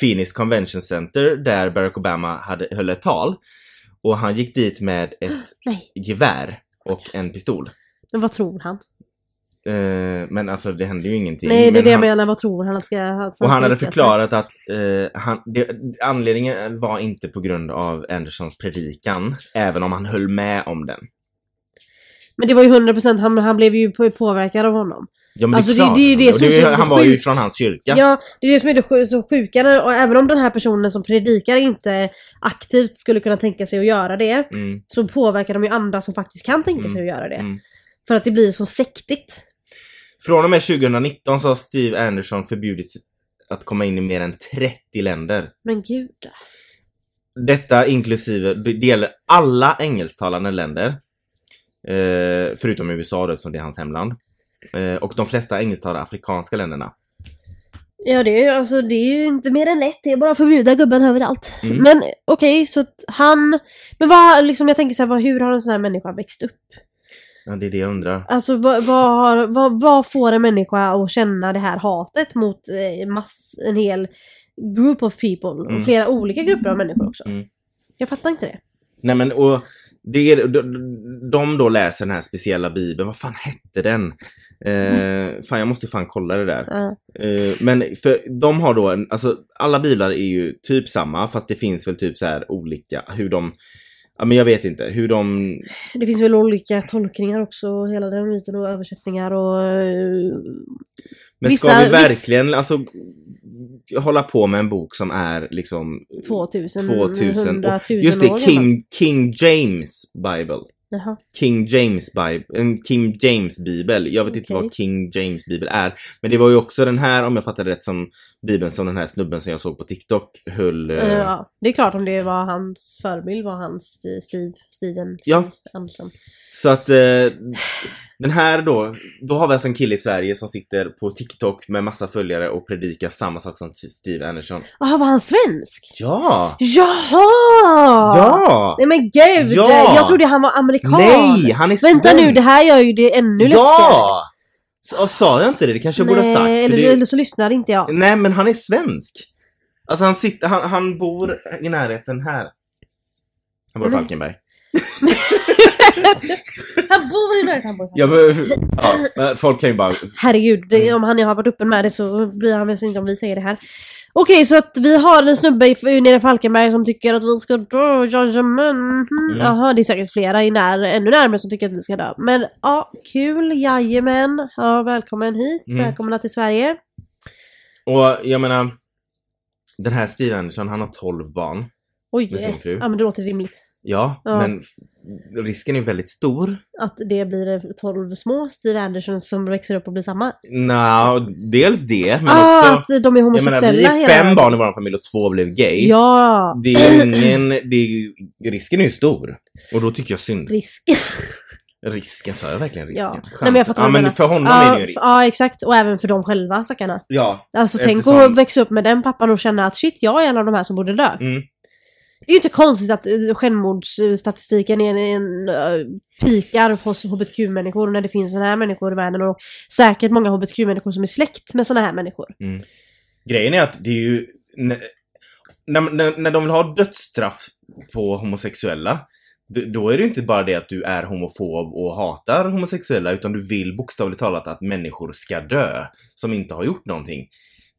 Speaker 2: Phoenix Convention Center där Barack Obama hade, höll ett tal. Och han gick dit med ett
Speaker 1: Nej,
Speaker 2: gevär och en pistol.
Speaker 1: men vad tror han?
Speaker 2: Eh, men alltså det hände ju ingenting.
Speaker 1: Nej, det är
Speaker 2: men
Speaker 1: det jag
Speaker 2: han,
Speaker 1: menar. Vad tror han att ska... Han ska
Speaker 2: och han hade
Speaker 1: lyckas med?
Speaker 2: förklarat att eh, han, det, anledningen var inte på grund av Andersons predikan, även om han höll med om den.
Speaker 1: Men det var ju 100% han, han blev ju på- påverkad av honom.
Speaker 2: Ja, men
Speaker 1: Alltså, det-
Speaker 2: det, är klart.
Speaker 1: det är ju det
Speaker 2: Och
Speaker 1: som är
Speaker 2: ju-
Speaker 1: så
Speaker 2: Han var ju
Speaker 1: sjukt.
Speaker 2: från hans kyrka.
Speaker 1: Ja. det är det som är det sju- så sjuka. när- Och även om den här personen som predikar inte aktivt skulle kunna tänka sig att göra det.
Speaker 2: Mm,
Speaker 1: Så påverkar de ju andra som faktiskt kan tänka
Speaker 2: Mm.
Speaker 1: sig att göra det.
Speaker 2: mm.
Speaker 1: För att det blir så sektigt.
Speaker 2: Från och med 2019 så har Steve Anderson förbjudits att komma in i mer än 30 länder.
Speaker 1: Men gud.
Speaker 2: Detta inklusive, det gäller alla engelsktalande länder. Eh, förutom USA då, som det är hans hemland. Eh, och de flesta engelsktalande afrikanska länderna.
Speaker 1: Ja, det är, ju- alltså, det är ju inte mer än lätt. Det är bara att förbjuda gubben överallt.
Speaker 2: Mm.
Speaker 1: Men okej, så att han... Men vad, liksom, jag tänker så här, vad, hur har en sån här människa växt upp?
Speaker 2: Ja, det är det jag undrar.
Speaker 1: Alltså vad, vad, har, vad, vad får en människa att känna det här hatet mot eh, mass, en hel group of people?
Speaker 2: Mm.
Speaker 1: Och flera olika grupper av människor också.
Speaker 2: Mm.
Speaker 1: Jag fattar inte det.
Speaker 2: Nej men och det är, de, de då läser den här speciella bibeln, vad fan hette den? Eh, fan jag måste fan kolla det där.
Speaker 1: Ja.
Speaker 2: Eh, men för de har då en, alltså alla biblar är ju typ samma fast det finns väl typ så här olika hur de, ja men jag vet inte hur de,
Speaker 1: det finns väl olika tolkningar också, och hela den biten och översättningar och... eh,
Speaker 2: men
Speaker 1: Vissa-
Speaker 2: ska vi
Speaker 1: viss-
Speaker 2: verkligen alltså hålla på med en bok som är liksom
Speaker 1: 2000,
Speaker 2: 2000
Speaker 1: 100 000
Speaker 2: Just
Speaker 1: år
Speaker 2: det,
Speaker 1: gammal.
Speaker 2: King, King James Bible.
Speaker 1: Jaha.
Speaker 2: King James Bible, en King James bibel. Jag vet inte
Speaker 1: Okej.
Speaker 2: vad King James bibel är. Men det var ju också den här, om jag fattar rätt, som bibeln som den här snubben som jag såg på TikTok höll. eh,
Speaker 1: Eh, ja. Det är klart om det var hans förebild var hans Steve, Steven Steven
Speaker 2: Ja.
Speaker 1: Andersson.
Speaker 2: Så att eh, den här då, då har vi alltså en kille i Sverige som sitter på TikTok med massa följare och predikar samma sak som Steve Anderson.
Speaker 1: Jaha, Ah, var han svensk?
Speaker 2: Ja!
Speaker 1: Jaha!
Speaker 2: Ja!
Speaker 1: Nej men gud!
Speaker 2: Ja!
Speaker 1: Jag trodde han var amerikan.
Speaker 2: Nej! Han är svensk!
Speaker 1: Vänta nu, det här gör ju det ännu läskigare.
Speaker 2: Ja! Så, sa jag inte det? Det kanske jag borde ha sagt.
Speaker 1: Nej,
Speaker 2: för
Speaker 1: eller,
Speaker 2: det...
Speaker 1: eller så lyssnade inte jag.
Speaker 2: Nej men han är svensk. Alltså han sitter, han, han bor i närheten här. Han bor i
Speaker 1: Men-
Speaker 2: Falkenberg.
Speaker 1: Han bor i närheten. han bor i
Speaker 2: Jag, be- ja, men folk kan ju bara...
Speaker 1: Herregud,
Speaker 2: Mm.
Speaker 1: det, om han har varit öppen med det så blir han väl inte om vi säger det här. Okej, så att vi har en snubbe i- nere i Falkenberg som tycker att vi ska dö. Jajamän. Mhm.
Speaker 2: Mm.
Speaker 1: Jaha, det är säkert flera i när, ännu närmare som tycker att vi ska dö. Men ja, kul. Jajamän. Ja, välkommen hit.
Speaker 2: Mm.
Speaker 1: Välkomna till Sverige.
Speaker 2: Och jag menar, den här Steve Anderson han har 12 barn. Med sin
Speaker 1: Oj.
Speaker 2: fru.
Speaker 1: Ja, men det låter rimligt.
Speaker 2: Ja,
Speaker 1: Ja.
Speaker 2: men f- risken är ju väldigt stor.
Speaker 1: Att det blir 12 små Steve Anderson som växer upp och blir samma.
Speaker 2: Nå, dels det, men
Speaker 1: ah,
Speaker 2: också...
Speaker 1: att de är
Speaker 2: Jag menar,
Speaker 1: homosexuella
Speaker 2: vi är
Speaker 1: hela
Speaker 2: fem
Speaker 1: världen.
Speaker 2: barn i vår familj och två blev gay.
Speaker 1: Ja.
Speaker 2: Det är ju ingen... Det är ju, risken är ju stor. Och då tycker jag synd.
Speaker 1: Risk.
Speaker 2: Risken, sa jag verkligen risken?
Speaker 1: Ja.
Speaker 2: Chansen.
Speaker 1: Nej, men jag fattar
Speaker 2: ja,
Speaker 1: vad du
Speaker 2: men
Speaker 1: menar. Ah,
Speaker 2: för honom är det
Speaker 1: Ja,
Speaker 2: ju en risk.
Speaker 1: ja, exakt. Och även för dem själva, stackarna.
Speaker 2: Ja.
Speaker 1: Alltså tänk
Speaker 2: Eftersom-
Speaker 1: att växa upp med den pappan och känna att shit, jag är en av de här som borde dö.
Speaker 2: Mm.
Speaker 1: Det är ju inte konstigt att eh, självmordsstatistiken är en, en, eh, pikar hos hbtq-människor när det finns såna här människor i världen och säkert många hbtq-människor som är släkt med såna här människor.
Speaker 2: Grejen är att det är ju... n- När, när, när de vill ha dödsstraff på homosexuella, d- då är det ju inte bara det att du är homofob och hatar homosexuella, utan du vill bokstavligt talat att människor ska dö som inte har gjort någonting.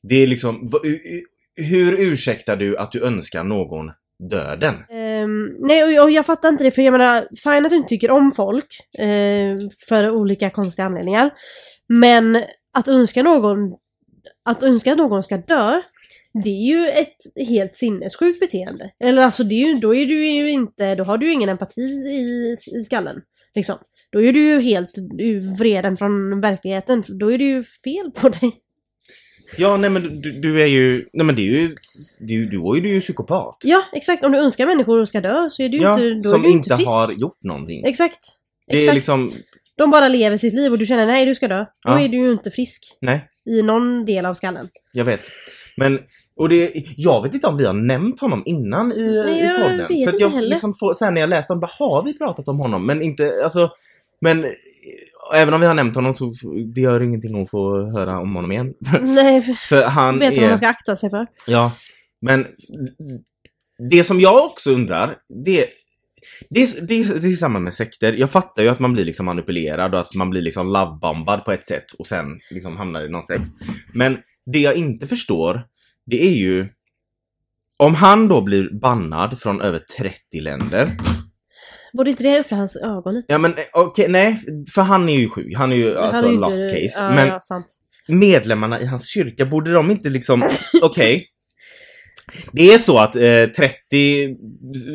Speaker 2: Det är liksom... va- u- u- Hur ursäktar du att du önskar någon döden?
Speaker 1: Ehm, nej, och jag, och jag fattar inte det, för jag menar, fine att du inte tycker om folk ehm, för olika konstiga anledningar. Men att önska någon att önska att någon ska dö, det är ju ett helt sinnessjukt beteende. Eller alltså, det är ju, då är du ju inte, då har du ju ingen empati i, i skallen. Liksom. Då är du ju helt ur- vreden från verkligheten, då är det ju fel på dig.
Speaker 2: Ja, nej men du, du är ju... Nej men det är ju... Du, du är ju psykopat.
Speaker 1: Ja, exakt. Om du önskar människor ska dö så är du ju
Speaker 2: Ja,
Speaker 1: inte, då
Speaker 2: som
Speaker 1: är du ju
Speaker 2: inte
Speaker 1: inte fisk.
Speaker 2: har gjort någonting.
Speaker 1: Exakt.
Speaker 2: Det
Speaker 1: exakt.
Speaker 2: är liksom...
Speaker 1: De bara lever sitt liv och du känner nej, du ska dö. Då
Speaker 2: Ja.
Speaker 1: är du ju inte frisk
Speaker 2: Nej,
Speaker 1: i någon del av skallen.
Speaker 2: jag vet. Men... Och det, jag vet inte om vi har nämnt honom innan i,
Speaker 1: Nej,
Speaker 2: i
Speaker 1: jag
Speaker 2: podden.
Speaker 1: vet
Speaker 2: För
Speaker 1: inte
Speaker 2: att jag
Speaker 1: heller.
Speaker 2: liksom får, sen när jag läste om bara har vi pratat om honom? Men inte, alltså... Men... eh, Även om vi har nämnt honom så det gör ingenting att få höra om honom igen.
Speaker 1: Nej, för-
Speaker 2: För han
Speaker 1: vet
Speaker 2: är...
Speaker 1: vad man ska akta sig för.
Speaker 2: Ja, men det som jag också undrar, det, det, det, det är samma med sekter. Jag fattar ju att man blir liksom manipulerad och att man blir liksom lovebombad på ett sätt och sen liksom hamnar i någon sekt. Men det jag inte förstår, det är ju om han då blir bannad från över 30 länder.
Speaker 1: Borde inte det öppna hans ögon lite?
Speaker 2: Ja men eh, okej, nej, för han är ju sjuk. Han är ju
Speaker 1: Han
Speaker 2: alltså
Speaker 1: är ju
Speaker 2: last
Speaker 1: inte-
Speaker 2: case.
Speaker 1: Ja,
Speaker 2: men
Speaker 1: ja, sant.
Speaker 2: medlemmarna i hans kyrka, borde de inte liksom, okej. Det är så att eh, 30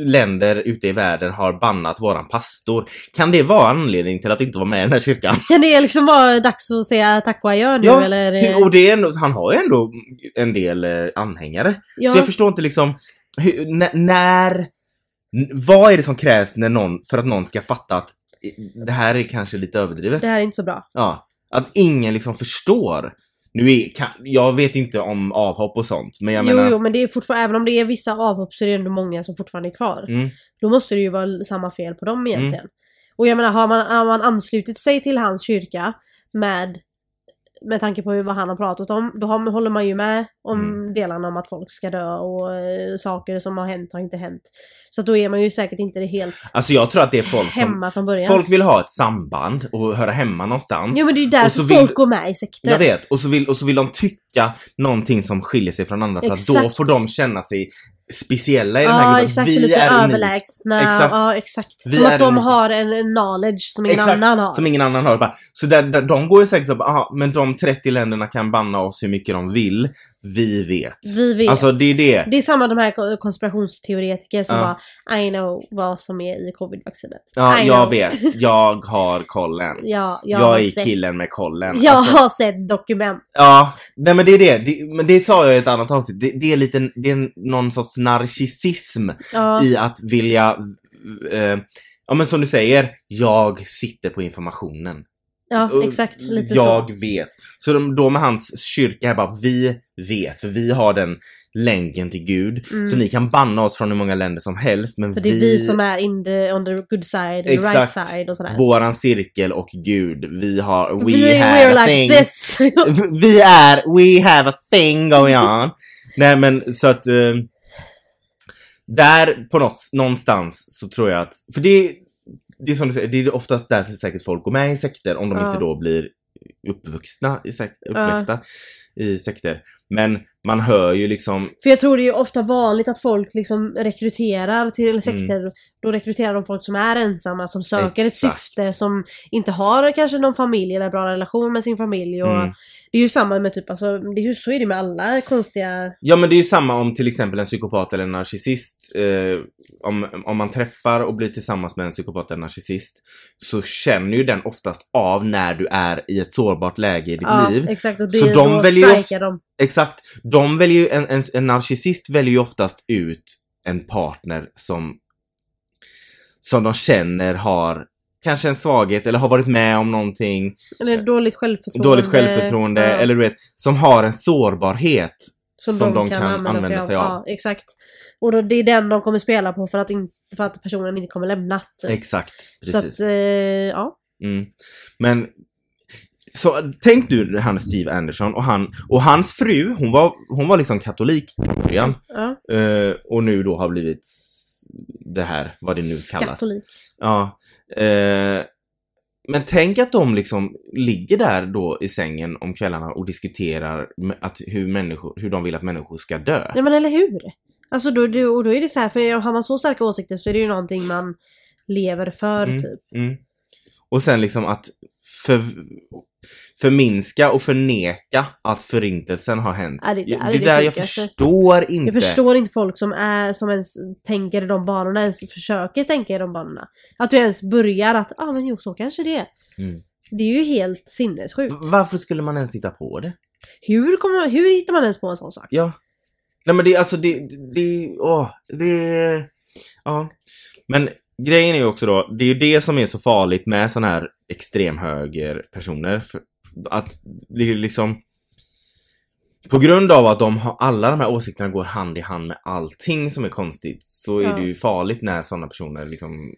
Speaker 2: länder ute i världen har bannat våran pastor. Kan det vara anledning till att inte vara med i den här kyrkan?
Speaker 1: Kan det liksom vara dags att säga tack och adjö nu
Speaker 2: Ja,
Speaker 1: eller? eh,
Speaker 2: Och det är ändå, han har ju ändå en del eh, anhängare.
Speaker 1: ja,
Speaker 2: Så jag förstår inte liksom, hur, n- när, n- vad är det som krävs när någon, för att någon ska fatta att eh, det här är kanske lite överdrivet?
Speaker 1: det här är inte så bra.
Speaker 2: Ja. Att ingen liksom förstår. Nu är, kan, jag vet inte om avhopp och sånt, men jag
Speaker 1: jo,
Speaker 2: menar...
Speaker 1: jo, men det är fortfarande, även om det är vissa avhopp så är det ändå många som fortfarande är kvar.
Speaker 2: Mm,
Speaker 1: Då måste det ju vara samma fel på dem egentligen. Och jag menar, har man, har man anslutit sig till hans kyrka med, med tanke på hur- vad han har pratat om, då har, håller man ju med om
Speaker 2: Mm.
Speaker 1: delarna om att folk ska dö och eh, saker som har hänt har inte hänt. Så att då är man ju säkert inte helt
Speaker 2: alltså jag tror att det är folk som...
Speaker 1: hemma från början.
Speaker 2: Folk vill ha ett samband och höra hemma någonstans.
Speaker 1: Jo men det är ju
Speaker 2: Och så
Speaker 1: därför
Speaker 2: vill-
Speaker 1: folk går med i sekter.
Speaker 2: jag vet, och så, vill, och så vill de tycka någonting som skiljer sig från andra för att då
Speaker 1: Exakt.
Speaker 2: får de känna sig speciella i den här
Speaker 1: Ja
Speaker 2: gruppen.
Speaker 1: exakt,
Speaker 2: vi
Speaker 1: lite
Speaker 2: är unika.
Speaker 1: överlägsna.
Speaker 2: Exakt.
Speaker 1: Ja exakt.
Speaker 2: Vi
Speaker 1: som
Speaker 2: är
Speaker 1: att de
Speaker 2: unika.
Speaker 1: har en, en knowledge som ingen
Speaker 2: Exakt,
Speaker 1: annan har.
Speaker 2: Som ingen annan "Ah, har. Bara, Så där, där, de går ju säkert så bara, aha, men de 30 länderna kan banna oss hur mycket de vill. Vi vet.
Speaker 1: Vi vet.
Speaker 2: Alltså det är det.
Speaker 1: Det är samma de här konspirationsteoretiker som
Speaker 2: Ja.
Speaker 1: bara I know vad som är i covidvaccinet.
Speaker 2: Ja,
Speaker 1: I
Speaker 2: jag
Speaker 1: know.
Speaker 2: vet. Jag har kollen.
Speaker 1: Ja, jag,
Speaker 2: Jag,
Speaker 1: har
Speaker 2: är
Speaker 1: sett,
Speaker 2: killen med kollen.
Speaker 1: Jag
Speaker 2: Alltså,
Speaker 1: har sett dokument.
Speaker 2: ja, nej men det är det. det. Men det sa jag i ett annat avsnitt. Det, det är lite, det är en- någon sorts narcissism
Speaker 1: Ja,
Speaker 2: i att vilja, eh, ja men som du säger, jag sitter på informationen.
Speaker 1: ja
Speaker 2: Så, eh,
Speaker 1: exakt. Lite
Speaker 2: jag
Speaker 1: så.
Speaker 2: vet. Så de, då med hans kyrka är bara, vi vet, för vi har den länken till Gud.
Speaker 1: Mm.
Speaker 2: Så ni kan banna oss från hur många länder som helst, men
Speaker 1: För det är vi, som är in the, on the good side, and the right
Speaker 2: Exakt.
Speaker 1: side och sådär.
Speaker 2: våran cirkel och Gud, vi har, we,
Speaker 1: we
Speaker 2: have
Speaker 1: we're like
Speaker 2: a thing.
Speaker 1: this.
Speaker 2: Vi är, we have a thing going on. Nej men så att, eh, där på något, någonstans så tror jag att, för det, det är som du säger, det är oftast därför säkert folk går med i sekter om de
Speaker 1: Ja.
Speaker 2: inte då blir uppvuxna i sek- uppväxta i sekter. Men man hör ju liksom,
Speaker 1: För jag tror det är ju ofta vanligt att folk liksom rekryterar
Speaker 2: Mm.
Speaker 1: till sekter. Då rekryterar de folk som är ensamma, som söker ett
Speaker 2: Exakt.
Speaker 1: syfte, som inte har kanske någon familj eller bra relation med sin familj. Och
Speaker 2: Mm.
Speaker 1: Det är ju samma med typ, alltså, det är ju så är det med alla konstiga...
Speaker 2: ja men det är ju samma om till exempel en psykopat eller en narcissist, eh, om, om man träffar och blir tillsammans med en psykopat eller narcissist så känner ju den oftast av när du är i ett sårbart läge i ditt liv.
Speaker 1: exakt. Och
Speaker 2: Så
Speaker 1: blir,
Speaker 2: de
Speaker 1: då
Speaker 2: väljer ju
Speaker 1: strikar de.
Speaker 2: Exakt. De väljer ju, en, en, en narcissist väljer ju oftast ut en partner som, som de känner har kanske en svaghet eller har varit med om någonting,
Speaker 1: Eller dåligt självförtroende.
Speaker 2: dåligt självförtroende
Speaker 1: Ja,
Speaker 2: eller du vet, som har en sårbarhet.
Speaker 1: som, de, kan, använda, sig, av.
Speaker 2: av.
Speaker 1: Ja, exakt. Och då, det är den de kommer spela på för att, inte, för att personen inte kommer lämna. typ.
Speaker 2: Exakt. Precis.
Speaker 1: så att, eh, ja.
Speaker 2: Mm. Men så tänk du han Steve Anderson och, han, och hans fru, hon var, hon var liksom katolik från början
Speaker 1: ja.
Speaker 2: eh, och nu då har blivit det här, vad det nu kallas.
Speaker 1: Skatolik.
Speaker 2: Ja. Eh, men tänk att de liksom ligger där då i sängen om kvällarna och diskuterar m- att hur, människor, hur de vill att människor ska dö.
Speaker 1: Ja men eller hur? Alltså då, då, och då är det så här, för har man så starka åsikter så är det ju någonting man lever för
Speaker 2: Mm.
Speaker 1: typ.
Speaker 2: Mm. Och sen liksom att för, förminska och förneka att förintelsen har hänt.
Speaker 1: Ja, det där är
Speaker 2: det
Speaker 1: det
Speaker 2: där jag
Speaker 1: sjukaste.
Speaker 2: förstår inte.
Speaker 1: Jag förstår inte folk som, är, som ens tänker i de banorna, ens försöker tänka i de banorna. Att du ens börjar att, ja ah, men jo så kanske det är.
Speaker 2: Mm.
Speaker 1: Det är ju helt sinnessjukt.
Speaker 2: V- Varför skulle man ens hitta på det?
Speaker 1: Hur, kommer, man- hur hittar man ens på en sån sak?
Speaker 2: Ja. Nej men det alltså det, det, åh, det, ja. Men grejen är ju också då, det är ju det som är så farligt med sån här extremhögerpersoner. För att det är liksom, på grund av att de har, alla de här åsikterna går hand i hand med allting som är konstigt så
Speaker 1: Ja.
Speaker 2: är det ju farligt när såna personer liksom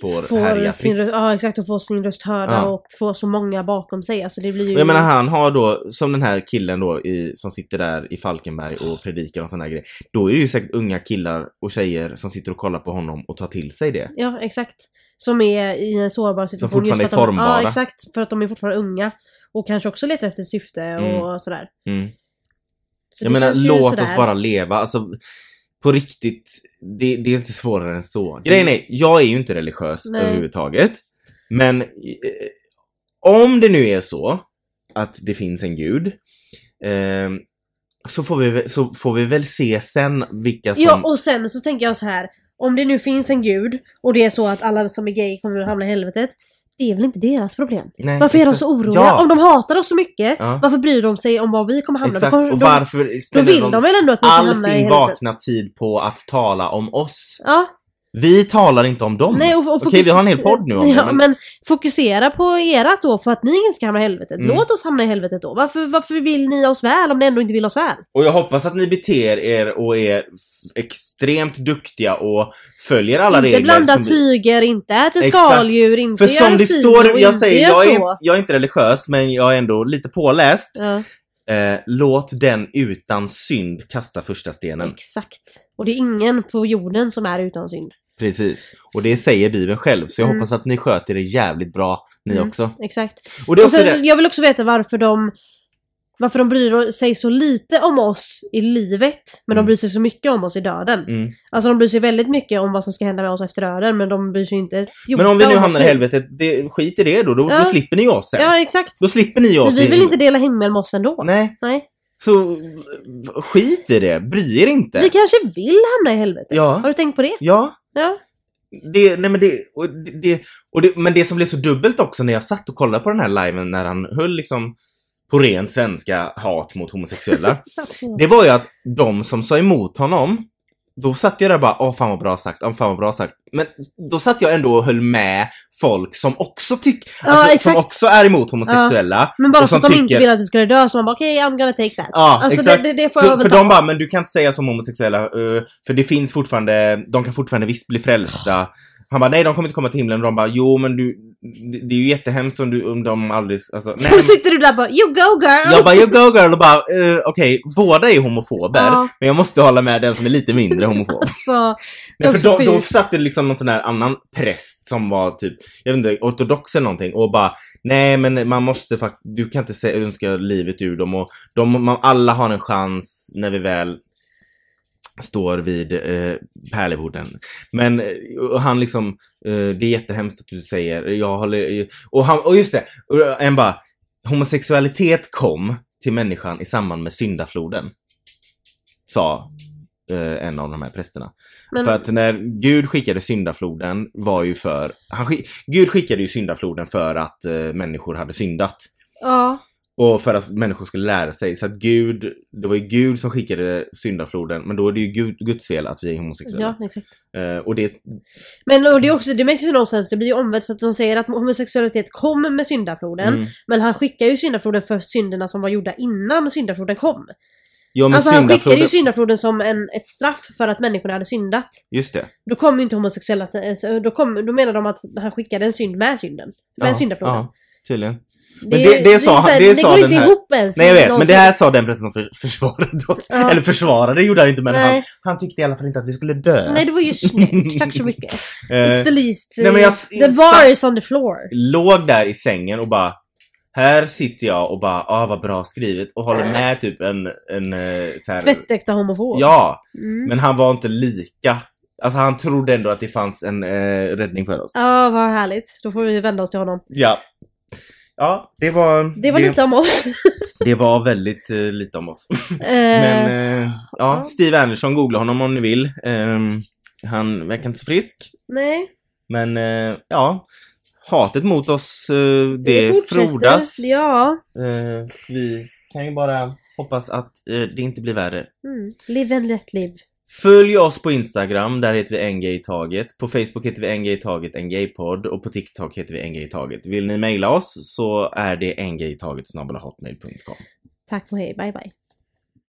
Speaker 2: får,
Speaker 1: Får
Speaker 2: härja
Speaker 1: sin
Speaker 2: fritt.
Speaker 1: röst, ja exakt, och få sin röst hörda
Speaker 2: Ja.
Speaker 1: och få så många bakom sig. Alltså det blir ju...
Speaker 2: Och Jag menar han har då, som den här killen då i, som sitter där i Falkenberg och predikar och sån här grej. Då är det ju säkert unga killar och tjejer som sitter och kollar på honom och tar till sig det.
Speaker 1: Ja, exakt. Som är i en sårbar situation.
Speaker 2: fortfarande
Speaker 1: just för
Speaker 2: är
Speaker 1: att de-
Speaker 2: formbara.
Speaker 1: Ja, exakt. För att de är fortfarande unga. Och kanske också letar efter ett syfte och sådär.
Speaker 2: Mm.
Speaker 1: Så
Speaker 2: Jag
Speaker 1: det
Speaker 2: menar
Speaker 1: känns ju
Speaker 2: låt
Speaker 1: sådär.
Speaker 2: oss bara leva. Alltså på riktigt, det, det är inte svårare än så. Grejen är, jag är ju inte religiös
Speaker 1: Nej.
Speaker 2: överhuvudtaget. Men eh, om det nu är så att det finns en gud. Eh, så får, vi, väl- så får vi väl se sen vilka som...
Speaker 1: Ja, och sen så tänker jag så här. Om det nu finns en gud och det är så att alla som är gay kommer att hamna i helvetet. Det är väl inte deras problem?
Speaker 2: Nej,
Speaker 1: Varför är de
Speaker 2: exakt.
Speaker 1: så oroliga?
Speaker 2: Ja.
Speaker 1: Om de hatar oss så mycket,
Speaker 2: Ja.
Speaker 1: varför bryr de sig om var vi kommer hamna?
Speaker 2: Exakt,
Speaker 1: Då, kommer,
Speaker 2: och
Speaker 1: de,
Speaker 2: varför
Speaker 1: då
Speaker 2: spenderar
Speaker 1: vill de väl ändå att vi ska hamna
Speaker 2: all
Speaker 1: i
Speaker 2: sin
Speaker 1: helvetet?
Speaker 2: vakna tid på att tala om oss?
Speaker 1: Ja,
Speaker 2: Vi talar inte om dem.
Speaker 1: Nej, och, och
Speaker 2: Okej, vi har en hel podd nu om det,
Speaker 1: ja, men...
Speaker 2: men-
Speaker 1: fokusera på erat då för att ni inte ska hamna i helvetet.
Speaker 2: Mm.
Speaker 1: Låt oss hamna i helvetet då. Varför, varför vill ni oss väl om ni ändå inte vill oss väl?
Speaker 2: Och jag hoppas att ni beter er och är f- extremt duktiga och följer alla
Speaker 1: inte
Speaker 2: regler.
Speaker 1: blanda
Speaker 2: som vi-
Speaker 1: tyger, inte äta
Speaker 2: Exakt.
Speaker 1: skaldjur, inte
Speaker 2: För som
Speaker 1: göra
Speaker 2: det
Speaker 1: si
Speaker 2: står,
Speaker 1: och
Speaker 2: jag
Speaker 1: inte
Speaker 2: säger,
Speaker 1: göra
Speaker 2: jag är,
Speaker 1: så.
Speaker 2: inte- jag är inte religiös men jag är ändå lite påläst.
Speaker 1: Ja,
Speaker 2: Eh, låt den utan synd kasta första stenen.
Speaker 1: exakt. Och det är ingen på jorden som är utan synd.
Speaker 2: Precis. Och det säger Bibeln själv, så jag
Speaker 1: Mm.
Speaker 2: hoppas att ni sköter er jävligt bra, ni
Speaker 1: Mm.
Speaker 2: också.
Speaker 1: Exakt.
Speaker 2: Och det är
Speaker 1: och
Speaker 2: också
Speaker 1: sen,
Speaker 2: det.
Speaker 1: Jag vill också veta varför de varför de bryr sig så lite om oss i livet, men de
Speaker 2: Mm.
Speaker 1: bryr sig så mycket om oss i döden.
Speaker 2: Mm.
Speaker 1: Alltså de bryr sig väldigt mycket om vad som ska hända med oss efter döden men de bryr sig inte ett jota
Speaker 2: Men om vi nu
Speaker 1: oss
Speaker 2: hamnar i helvetet, det, skit i det då. Då,
Speaker 1: Ja.
Speaker 2: då slipper ni oss sen.
Speaker 1: Ja exakt.
Speaker 2: Då slipper ni
Speaker 1: Men
Speaker 2: oss.
Speaker 1: vi
Speaker 2: i-
Speaker 1: vill inte dela himmel med oss ändå.
Speaker 2: Nej.
Speaker 1: Nej.
Speaker 2: Så eh, skit i det, bry er inte.
Speaker 1: Vi kanske vill hamna i helvetet.
Speaker 2: Ja.
Speaker 1: Har du tänkt på det?
Speaker 2: Ja.
Speaker 1: Ja.
Speaker 2: Det, nej men det, och det, det, och det, men det som blev så dubbelt också när jag satt och kollade på den här liven när han höll liksom på ren svenska hat mot homosexuella.
Speaker 1: Alltså.
Speaker 2: det var ju att de som sa emot honom, då satt jag där och bara åh fan vad bra sagt, åh fan vad bra sagt. Men då satt jag ändå och höll med folk som också tyck,
Speaker 1: Ja,
Speaker 2: alltså, som
Speaker 1: exakt.
Speaker 2: också är emot homosexuella.
Speaker 1: Men bara
Speaker 2: Och
Speaker 1: för
Speaker 2: som
Speaker 1: att de inte
Speaker 2: tycker-
Speaker 1: ville att du skulle dö så man bara okej, I'm gonna take that.
Speaker 2: Ja,
Speaker 1: alltså
Speaker 2: exakt.
Speaker 1: det, det, det får jag
Speaker 2: Så,
Speaker 1: väl
Speaker 2: för
Speaker 1: ta.
Speaker 2: de bara, men du kan inte säga som homosexuella, eh, för det finns fortfarande, de kan fortfarande visst bli frälsta. Han bara, nej de kommer inte komma till himlen. De bara, jo men du, det, det är ju jättehemskt om, du, om de aldrig, alltså, nej.
Speaker 1: Så sitter du där bara you go girl!
Speaker 2: Jag bara, you go girl och bara, eh, okej, båda är homofober,
Speaker 1: Ja.
Speaker 2: men jag måste hålla med den som är lite mindre homofob.
Speaker 1: alltså,
Speaker 2: Nej, för
Speaker 1: också
Speaker 2: då, då
Speaker 1: sjukt.
Speaker 2: satt det liksom någon sån här annan präst som var typ, jag vet inte, ortodox eller någonting och bara Nej men man måste faktiskt, du kan inte se, önska livet ur dem och de, man, alla har en chans när vi väl står vid eh, pärleporten. Men eh, och han liksom, eh, det är jättehemskt att du säger, jag håller, och, han, och just det, och en bara, homosexualitet kom till människan i samband med syndafloden. Sa eh, en av de här prästerna.
Speaker 1: men,
Speaker 2: För att när Gud skickade syndafloden var ju för, han skick, Gud skickade ju syndafloden för att eh, människor hade syndat.
Speaker 1: ja.
Speaker 2: Och för att människor skulle lära sig. Så att Gud, det var ju Gud som skickade syndafloden, men då är det ju Gud, Guds fel att vi är homosexuella.
Speaker 1: ja, exakt.
Speaker 2: Eh, och det,
Speaker 1: Men och det är också, det makes ju nonsens, det blir ju omvänt för att de säger att homosexualitet kommer med syndafloden.
Speaker 2: mm.
Speaker 1: Men han skickar ju syndafloden för synderna som var gjorda innan syndafloden kom.
Speaker 2: ja, men
Speaker 1: Alltså han
Speaker 2: syndafloden,
Speaker 1: skickade ju syndafloden som en, ett straff för att människorna hade syndat.
Speaker 2: Just det.
Speaker 1: Då kom ju inte homosexuella, alltså, då, kom, då menar de att han skickade en synd med synden. Med
Speaker 2: Ja,
Speaker 1: syndafloden.
Speaker 2: ja, tydligen. Men det- det sa han-
Speaker 1: så här,
Speaker 2: det sa
Speaker 1: går
Speaker 2: den
Speaker 1: inte
Speaker 2: här-
Speaker 1: ihop ens.
Speaker 2: Nej jag vet, men det
Speaker 1: någonsin.
Speaker 2: här sa den prästen som för, försvarade oss.
Speaker 1: Ja.
Speaker 2: Eller försvarade gjorde han inte men
Speaker 1: Nej.
Speaker 2: han, han tyckte i alla fall inte att vi skulle dö.
Speaker 1: Nej, det var ju snyggt. Tack så mycket.
Speaker 2: Eh,
Speaker 1: It's the least... eh,
Speaker 2: nej, men jag-
Speaker 1: the bar is on the floor.
Speaker 2: låg där i sängen och bara här sitter jag och bara, ah vad bra skrivet och håller med typ en, en eh, så här,
Speaker 1: Tvättäkta homofob.
Speaker 2: Ja,
Speaker 1: Mm.
Speaker 2: men han var inte lika. Alltså han trodde ändå att det fanns en eh, räddning för oss.
Speaker 1: Ja, vad härligt. Då får vi vända oss till honom.
Speaker 2: Ja. Ja, det var,
Speaker 1: Det var lite om oss.
Speaker 2: det var väldigt eh, lite om oss.
Speaker 1: Men,
Speaker 2: Men eh, ja, Steve Anderson, googla honom om ni vill. Ehm, han verkar inte så frisk.
Speaker 1: nej,
Speaker 2: Men eh, ja, hatet mot oss, eh, det,
Speaker 1: fortsätter.
Speaker 2: frodas.
Speaker 1: Ja.
Speaker 2: Eh, vi kan ju bara hoppas att eh, det inte blir värre.
Speaker 1: Mm. Live and let live.
Speaker 2: Följ oss på Instagram, där heter vi en gay i taget. På Facebook heter vi en gay i taget, en gaypodd. Och på TikTok heter vi en gay i taget. Vill ni mejla oss så är det en gay i taget snabel-hotmail.com.
Speaker 1: Tack och hej. Bye, bye.